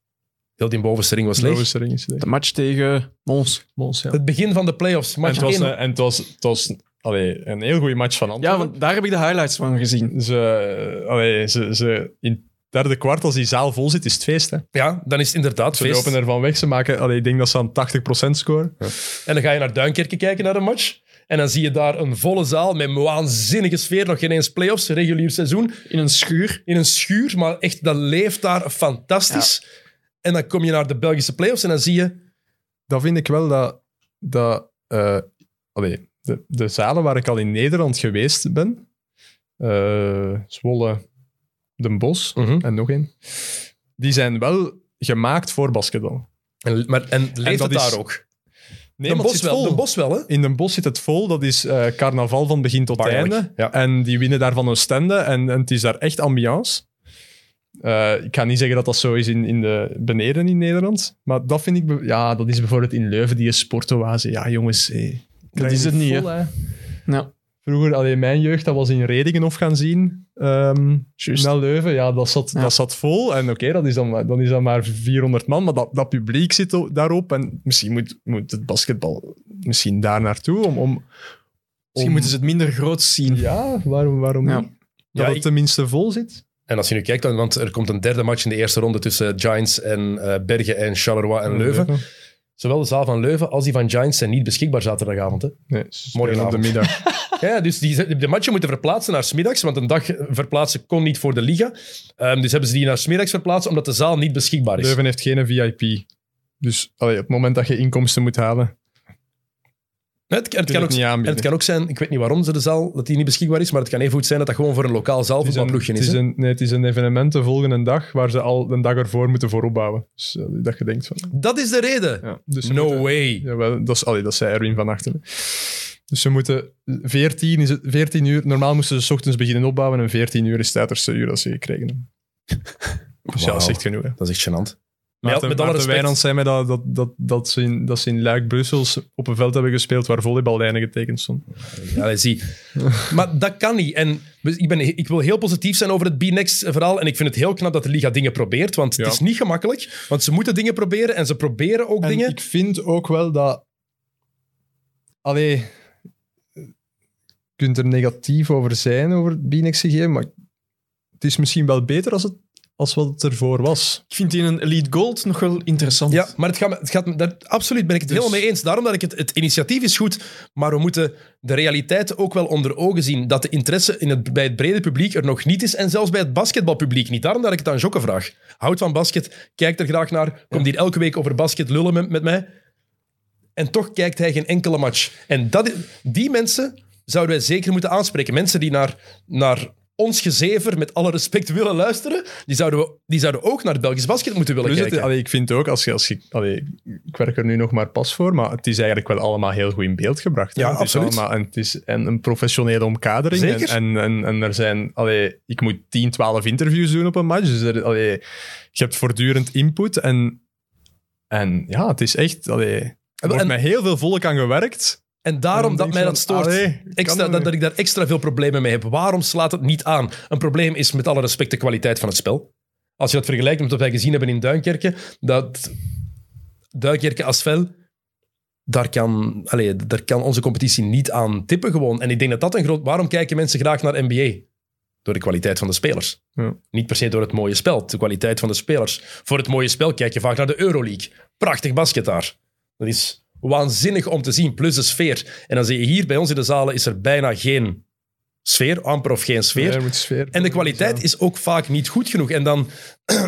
Heel die bovenste ring was leeg. Leuven is er eens, nee. De match tegen Mons. Mons, ja. Het begin van de playoffs, En match het was, eh, 1. een, en het was, het was allee, een heel goede match van Ja, Antwerpen. want daar heb ik de highlights van gezien. ze, eh, allee, ze, ze, in het derde kwart, als die zaal vol zit, is het feest. Hè. Ja, dan is het inderdaad Ze feest. lopen ervan weg. Ze maken, allee, ik denk dat ze aan 80% scoren. En dan ga je naar Duinkerke kijken naar de match. En dan zie je daar een volle zaal met een waanzinnige sfeer. Nog geen eens playoffs, regulier seizoen. In een schuur. in een schuur, maar echt, dat leeft daar fantastisch. En dan kom je naar de Belgische playoffs en dan zie je... Dat vind ik wel dat... dat eh, allee, de, de zalen waar ik al in Nederland geweest ben, eh, Zwolle, Den Bosch Mm. en nog één, die zijn wel gemaakt voor basketbal. en, maar, en leeft dat het daar is- ook? Nee, de, maar het bos zit wel, vol. de bos wel, hè? In Den Bosch zit het vol. Dat is eh, carnaval van begin tot Pijnlijk, einde. ja. En die winnen daarvan een stende. En, en het is daar echt ambiance. Eh, ik ga niet zeggen dat dat zo is in, in de beneden in Nederland. Maar dat vind ik... be- Ja, dat is bijvoorbeeld in Leuven, die sportoase. Ja, jongens. eh, krijg is je het niet, vol, hè. Ja, Vroeger, alleen mijn jeugd, dat was in Redingenhof gaan zien. Ehm juist. naar Leuven, ja, dat zat, Ja. Dat zat vol. En oké, dat is dan, maar- dan is dat maar 400 man, maar dat, dat publiek zit o- daarop. En misschien moet, moet het basketbal misschien daar naartoe om... om Misschien moeten ze het minder groot zien. Ja, waarom, waarom Ja. niet? Ja, Dat het ik- tenminste vol zit. En als je nu kijkt, dan, want er komt een derde match in de eerste ronde tussen Giants en eh, Bergen en Charleroi en Leuven. Zowel de zaal van Leuven als die van Giants zijn niet beschikbaar zaterdagavond. Hè? Nee, ze spelen Morgenavond. op de middag. Ja, dus die, de matchen moeten verplaatsen naar 's middags, want een dag verplaatsen kon niet voor de liga. Ehm, dus hebben ze die naar 's middags verplaatst, omdat de zaal niet beschikbaar is. Leuven heeft geen VIP. Dus allee, op het moment dat je inkomsten moet halen, Het, het kun je kan het ook niet En aanbieden. het kan ook zijn, ik weet niet waarom ze de zaal, dat die niet beschikbaar is, maar het kan even goed zijn dat dat gewoon voor een lokaal Het is een- zaalvoetbalploegje het is. is hè. een, nee, het is een evenement de volgende dag waar ze al een dag ervoor moeten voor opbouwen. Dus eh, dat je denkt van... Dat is de reden. Ja, dus ze no moeten- way. Jawel, dat, is, allee, dat zei Erwin van Achteren. Dus ze moeten 14, is het, 14 uur. Normaal moesten ze 's ochtends beginnen opbouwen en 14 uur is het uiterste uur dat ze gekregen hebben. Dus ja, Wauw. dat is echt genoeg. Hè. Dat is echt gênant. Met- Maarten, met alle Maarten respect. Wijnands zei mij dat, dat, dat, dat, ze in, dat ze in Luik Brussels op een veld hebben gespeeld waar volleyballijnen getekend stonden. Allee, zie. Maar dat kan niet. En we- ik, ben, ik wil heel positief zijn over het B-Next-verhaal. En ik vind het heel knap dat de Liga dingen probeert. Want Ja. het is niet gemakkelijk. Want ze moeten dingen proberen. En ze proberen ook En dingen. ik vind ook wel dat... Allee, je kunt er negatief over zijn, over het BNXCG, maar het is misschien wel beter als, het, als wat het ervoor was. Ik vind die in een Elite Gold nog wel interessant. Ja, maar het gaat, me- het gaat, me- daar, absoluut ben ik het Dus- helemaal mee eens. Daarom dat ik het, het initiatief is goed, maar we moeten de realiteit ook wel onder ogen zien. Dat de interesse in het, bij het brede publiek er nog niet is en zelfs bij het basketbalpubliek niet. Daarom dat ik het aan Jokke vraag. Houd van basket, kijkt er graag naar, komt hier elke week over basket lullen met, met mij. En toch kijkt hij geen enkele match. En dat, i- die mensen zouden wij zeker moeten aanspreken. Mensen die naar, naar ons gezever met alle respect willen luisteren, die zouden, we, die zouden ook naar Belgisch basket moeten willen Dus het, kijken. allee, ik vind ook, als je, als je, allee, ik werk er nu nog maar pas voor, maar het is eigenlijk wel allemaal heel goed in beeld gebracht. hè. Ja, het is absoluut. allemaal- en het is en een professionele omkadering. Zeker. En, en, en, en er zijn, allee, ik moet 10, 12 interviews doen op een match. Dus er, allee, je hebt voortdurend input. En, en ja, het is echt, allee, er wordt en- met heel veel volk aan gewerkt. En daarom En dan dat denk mij je dat van, stoort. allee, kan extra, dat dat, nu? dat ik daar extra veel problemen mee heb. Waarom slaat het niet aan? Een probleem is met alle respect de kwaliteit van het spel. Als je dat vergelijkt met wat wij gezien hebben in Duinkerken, dat Duinkerken Asvel, daar kan, allee, daar kan onze competitie niet aan tippen gewoon. En ik denk dat dat een groot... Waarom kijken mensen graag naar NBA? Door de kwaliteit van de spelers. Ja. Niet per se door het mooie spel, de kwaliteit van de spelers. Voor het mooie spel kijk je vaak naar de Euroleague. Prachtig basket daar. Dat is waanzinnig om te zien, plus de sfeer. En dan zie je hier bij ons in de zalen is er bijna geen sfeer, amper of geen sfeer. Ja, er moet sfeer En de kwaliteit is ook vaak niet goed genoeg. En dan,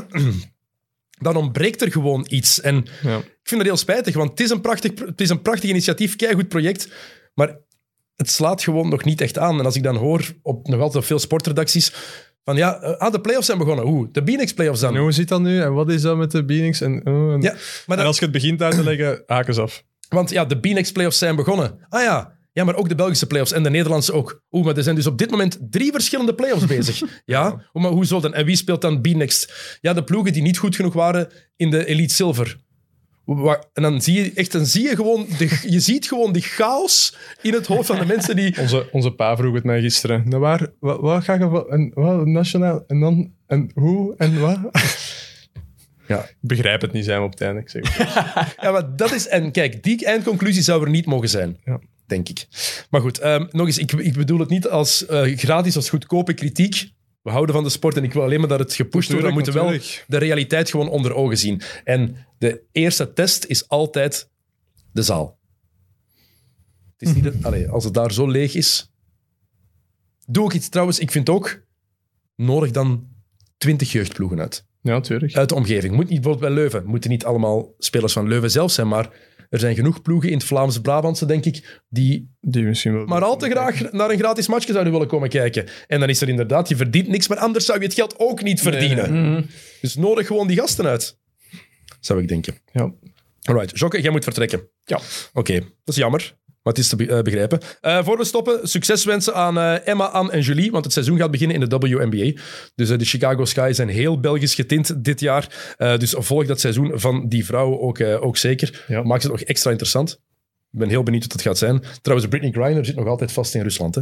dan ontbreekt er gewoon iets. En Ja. ik vind dat heel spijtig, want het is een prachtig, pro- het is een prachtig initiatief, keigoed project. Maar het slaat gewoon nog niet echt aan. En als ik dan hoor op nog altijd op veel sportredacties van ja, eh, ah, de playoffs zijn begonnen. Oeh, de B-Nex playoffs dan. En hoe zit dat nu? En wat is dat met de Beanings? En, oh, en- Ja, maar en dat- als je het begint uit te leggen, haken ze af. Want ja, de B-Nex playoffs zijn begonnen. Ah ja. Ja, maar ook de Belgische playoffs en de Nederlandse ook. Oeh, maar er zijn dus op dit moment drie verschillende playoffs bezig. Ja, Oeh, maar hoezo dan? En wie speelt dan B-Next? Ja, de ploegen die niet goed genoeg waren in de Elite Silver. Wa- En dan zie je echt, dan zie je gewoon, de, je ziet gewoon die chaos in het hoofd van de mensen die... Onze, onze pa vroeg het mij gisteren. Nou, waar, wat, wat ga je van- en wat, nationaal en dan en hoe en wat? Ja. Ik begrijp het niet zijn we op het einde. Ik zeg. het. Ja, maar dat is... En kijk, die eindconclusie zou er niet mogen zijn. Ja. Denk ik. Maar goed, ehm, nog eens, ik, ik bedoel het niet als eh, gratis, als goedkope kritiek. We houden van de sport en ik wil alleen maar dat het gepusht wordt. We Tuurlijk, moeten wel natuurlijk. de realiteit gewoon onder ogen zien. En de eerste test is altijd de zaal. Het is niet dat, allee, als het daar zo leeg is... Doe ik iets trouwens, ik vind ook... Nodig dan 20 jeugdploegen uit Ja, tuurlijk. uit de omgeving. Moet niet bijvoorbeeld bij Leuven. Moeten niet allemaal spelers van Leuven zelf zijn, maar er zijn genoeg ploegen in het Vlaams-Brabantse, denk ik, die Die misschien wel. maar al te graag naar een gratis matchje zouden willen komen kijken. En dan is er inderdaad, je verdient niks, maar anders zou je het geld ook niet verdienen. Dus nodig gewoon die gasten uit. Zou ik denken. Ja. Alright, Jokke, jij moet vertrekken. Ja. Oké, dat is jammer. Maar het is te be- eh, begrijpen. Eh, voor we stoppen, succes wensen aan eh, Emma, Anne en Julie. Want het seizoen gaat beginnen in de WNBA. Dus eh, de Chicago Sky zijn heel Belgisch getint dit jaar. Eh, dus volg dat seizoen van die vrouwen ook, eh, ook zeker. Ja. Maakt het nog extra interessant. Ik ben heel benieuwd wat het gaat zijn. Trouwens, Britney Griner zit nog altijd vast in Rusland. Hè?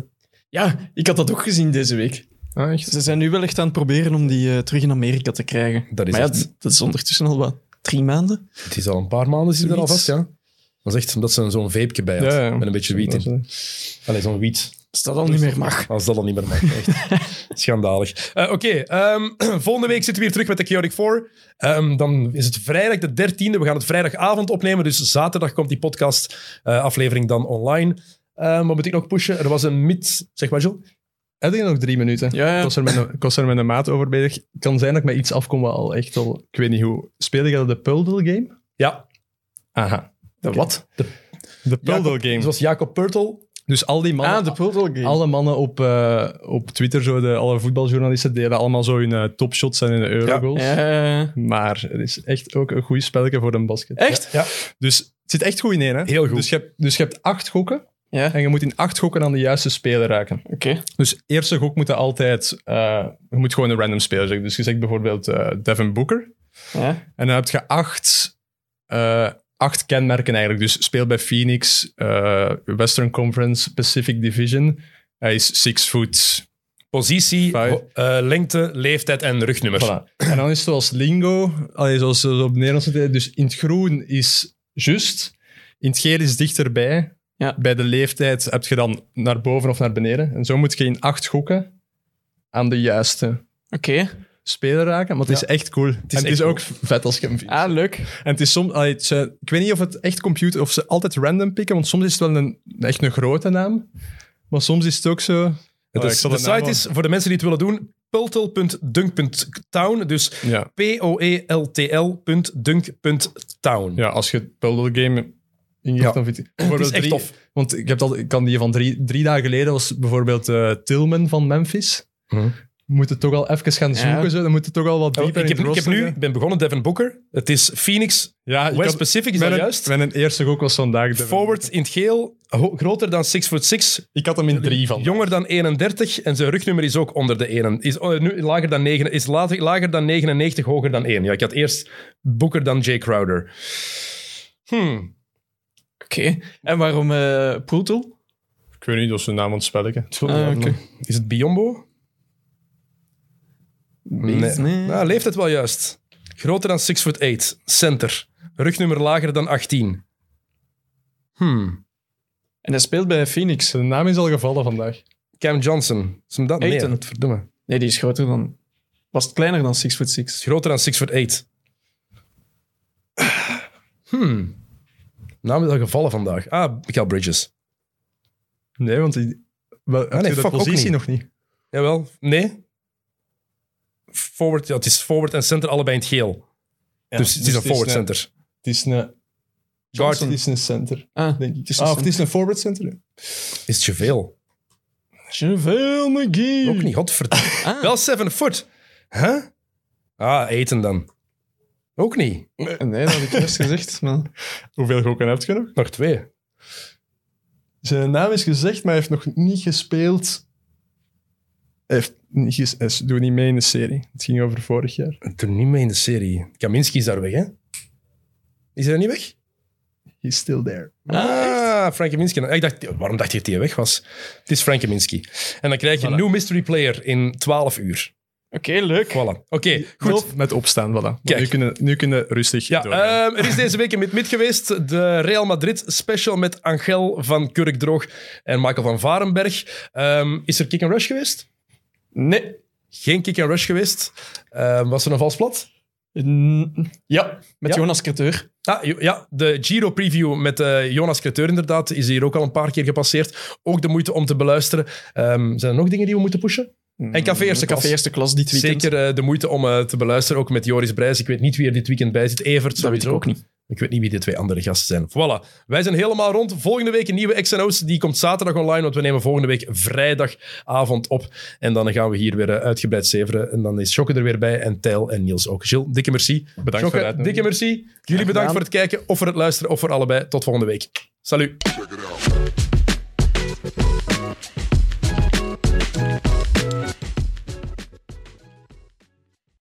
Ja, ik had dat ook gezien deze week. Ah, echt? Ze zijn nu wel echt aan het proberen om die eh, terug in Amerika te krijgen. Dat is maar ja, echt- d- dat is ondertussen al wat drie maanden. Het is al een paar maanden zit er al Zoiets. vast, ja. Dat is echt omdat ze zo'n veepje bij had. Ja, ja. Met een beetje wiet Dat is, in. eh, Allee, zo'n wiet. Als dat al niet meer mag. Als dat al niet meer mag. Echt. Schandalig. Eh, Oké, ehm, volgende week zitten we weer terug met de Chaotic 4. Ehm, dan is het vrijdag de 13e. We gaan het vrijdagavond opnemen. Dus zaterdag komt die podcast eh, aflevering dan online. Ehm, wat moet ik nog pushen? Er was een mid... Zeg maar, Jill. Heb je nog drie minuten? Ja, Ik ja. was er met een- Ik was er met een maat over bezig. Het kan zijn dat ik met iets afkom wat al echt al... Ik weet niet hoe. Speelde je de Puldle Game? Ja, Aha. De wat? De Puldle Jacob, Game. zoals Jacob Pertl. Dus al die mannen... ah, de Puddle Game. Alle mannen op, eh, op Twitter, zo de, alle voetbaljournalisten, delen allemaal zo hun eh, topshots en hun eurogoals. Ja, ja, ja. Maar het is echt ook een goed spelletje voor een basket. Echt? Ja, Dus het zit echt goed in één. Hè? Heel goed. Dus je, hebt, dus je hebt acht gokken Ja, en je moet in acht gokken aan de juiste speler raken. oké. Dus eerste gok moet je altijd... eh, je moet gewoon een random speler zeggen. Dus je zegt bijvoorbeeld eh, Devin Booker. Ja. En dan heb je acht, eh, acht kenmerken eigenlijk. Dus speel bij Phoenix, eh, Western Conference, Pacific Division. Hij is six foot. Positie, Vijf. ho- eh, lengte, leeftijd en rugnummer. Voilà. En dan is het zoals lingo, allee, zoals ze op het Nederlands zeggen. Dus in het groen is juist, in het geel is dichterbij. Ja. Bij de leeftijd heb je dan naar boven of naar beneden. En zo moet je in acht gokken aan de juiste Oké. speler raken. Maar het is echt cool. en echt het is cool. ook vet als je hem vindt. Ah, leuk. En het is soms, allee, het zijn- ik weet niet of het echt computer of ze altijd random pikken, want soms is het wel een, echt een grote naam. Maar soms is het ook zo. Het Oh, is- ik zal de de naam site is, voor de mensen die het willen doen, pultel.dunk.town. Dus Ja, p-o-e-l-t-l.dunk.town. ja als je Puddle Game ingeeft, Ja. dan vind je bijvoorbeeld Het is echt drie- tof. Want ik, heb dat, ik kan die van drie, drie dagen geleden, was bijvoorbeeld eh Tillman van Memphis. Mhm. Moet het toch al even gaan Ja. zoeken, zo. dan moet het toch al wat Oh, dieper ik in heb, het ik heb roster nu, gaan. ik ben begonnen, Devin Booker. Het is Phoenix, ja, ik West had- Pacific, is dat mijn, juist? Mijn eerste gok was vandaag. de- Forward in het geel, ho- groter dan 6 foot 6, Ik had hem in drie van. jonger dan 31 en zijn rugnummer is ook onder de 1. Is oh, nu lager dan, 9, is later, lager dan 99, hoger dan 1. Ja, ik had eerst Booker dan Jay Crowder. Hmm. Oké. En waarom eh Poeltel? Ik weet niet, dat is de naam van het spelletje. Ah, oké. Is het Biombo? Nee. Nee. Nou, leeftijd wel juist. Groter dan 6 foot 8, center. Rugnummer lager dan 18. Hmm. En hij speelt bij Phoenix. De naam is al gevallen vandaag. Cam Johnson. Is hem dat? Nee, Ayton. dat verdomme. Nee, die is groter dan... Was het kleiner dan 6 foot 6? is groter dan 6 foot 8. Hmm. Naam is al gevallen vandaag. Ah, Michael Bridges. Nee, want die, wel, heb Ah, nee, je de fuck, ook positie niet. nog niet. Jawel. Nee. Forward, ja, het is forward en center, allebei in het geel. dus het is een forward center. Het is een Guard het is een center, Ah, denk ik. Het is een ah, of het is een forward center. is te veel. Javel McGee. Ook niet, godverdomme. Ah. Wel 7 foot. Huh? Ah, eten dan. Ook niet. Nee, dat had ik juist gezegd. Maar... Hoeveel gokken heb je nog? Nog twee. Zijn naam is gezegd, maar hij heeft nog niet gespeeld. Hij, heeft niet ges- hij doet niet mee in de serie. Het ging over vorig jaar. Toen niet mee in de serie. Kaminski is daar weg, hè? Is hij niet weg? He's still there. Ah, Frank Kaminski. Ik dacht, waarom dacht je dat hij weg was? Het is Frank Kaminski. En dan krijg je een nieuw mystery player in 12 uur. Oké, leuk. Voilà. Oké, goed. Goed. Met opstaan, voilà. Kijk. Nu kunnen, nu kunnen rustig Ja, doorgaan. ehm, er is deze week een mid-mid geweest. De Real Madrid special met Angel van Kurkdroog en Michael van Varenberg. Ehm, is er kick-and-rush geweest? Nee. Geen kick-and-rush geweest. Ehm, was er een vals plat? Mm, Ja, met Ja? Jonas Creteur. Ah, jo- ja, de Giro-preview met eh, Jonas Creteur inderdaad is hier ook al een paar keer gepasseerd. Ook de moeite om te beluisteren. Ehm, zijn er nog dingen die we moeten pushen? En café eerste Café klas. eerste klas dit weekend. Zeker eh, de moeite om eh, te beluisteren, ook met Joris Brijs. Ik weet niet wie er dit weekend bij zit. Evert, Dat weet ik ook niet. Ik weet niet wie de twee andere gasten zijn. Voilà, wij zijn helemaal rond. Volgende week een nieuwe XNO's. Die komt zaterdag online, want we nemen volgende week vrijdagavond op. En dan gaan we hier weer eh, uitgebreid zeveren. En dan is Jokke er weer bij en Tijl en Niels ook. Gilles, dikke merci. Bedankt voor de Jokke, uitnodiging. dikke merci. Jullie bedankt gedaan. voor het kijken of voor het luisteren of voor allebei. Tot volgende week. Salut. Check it out.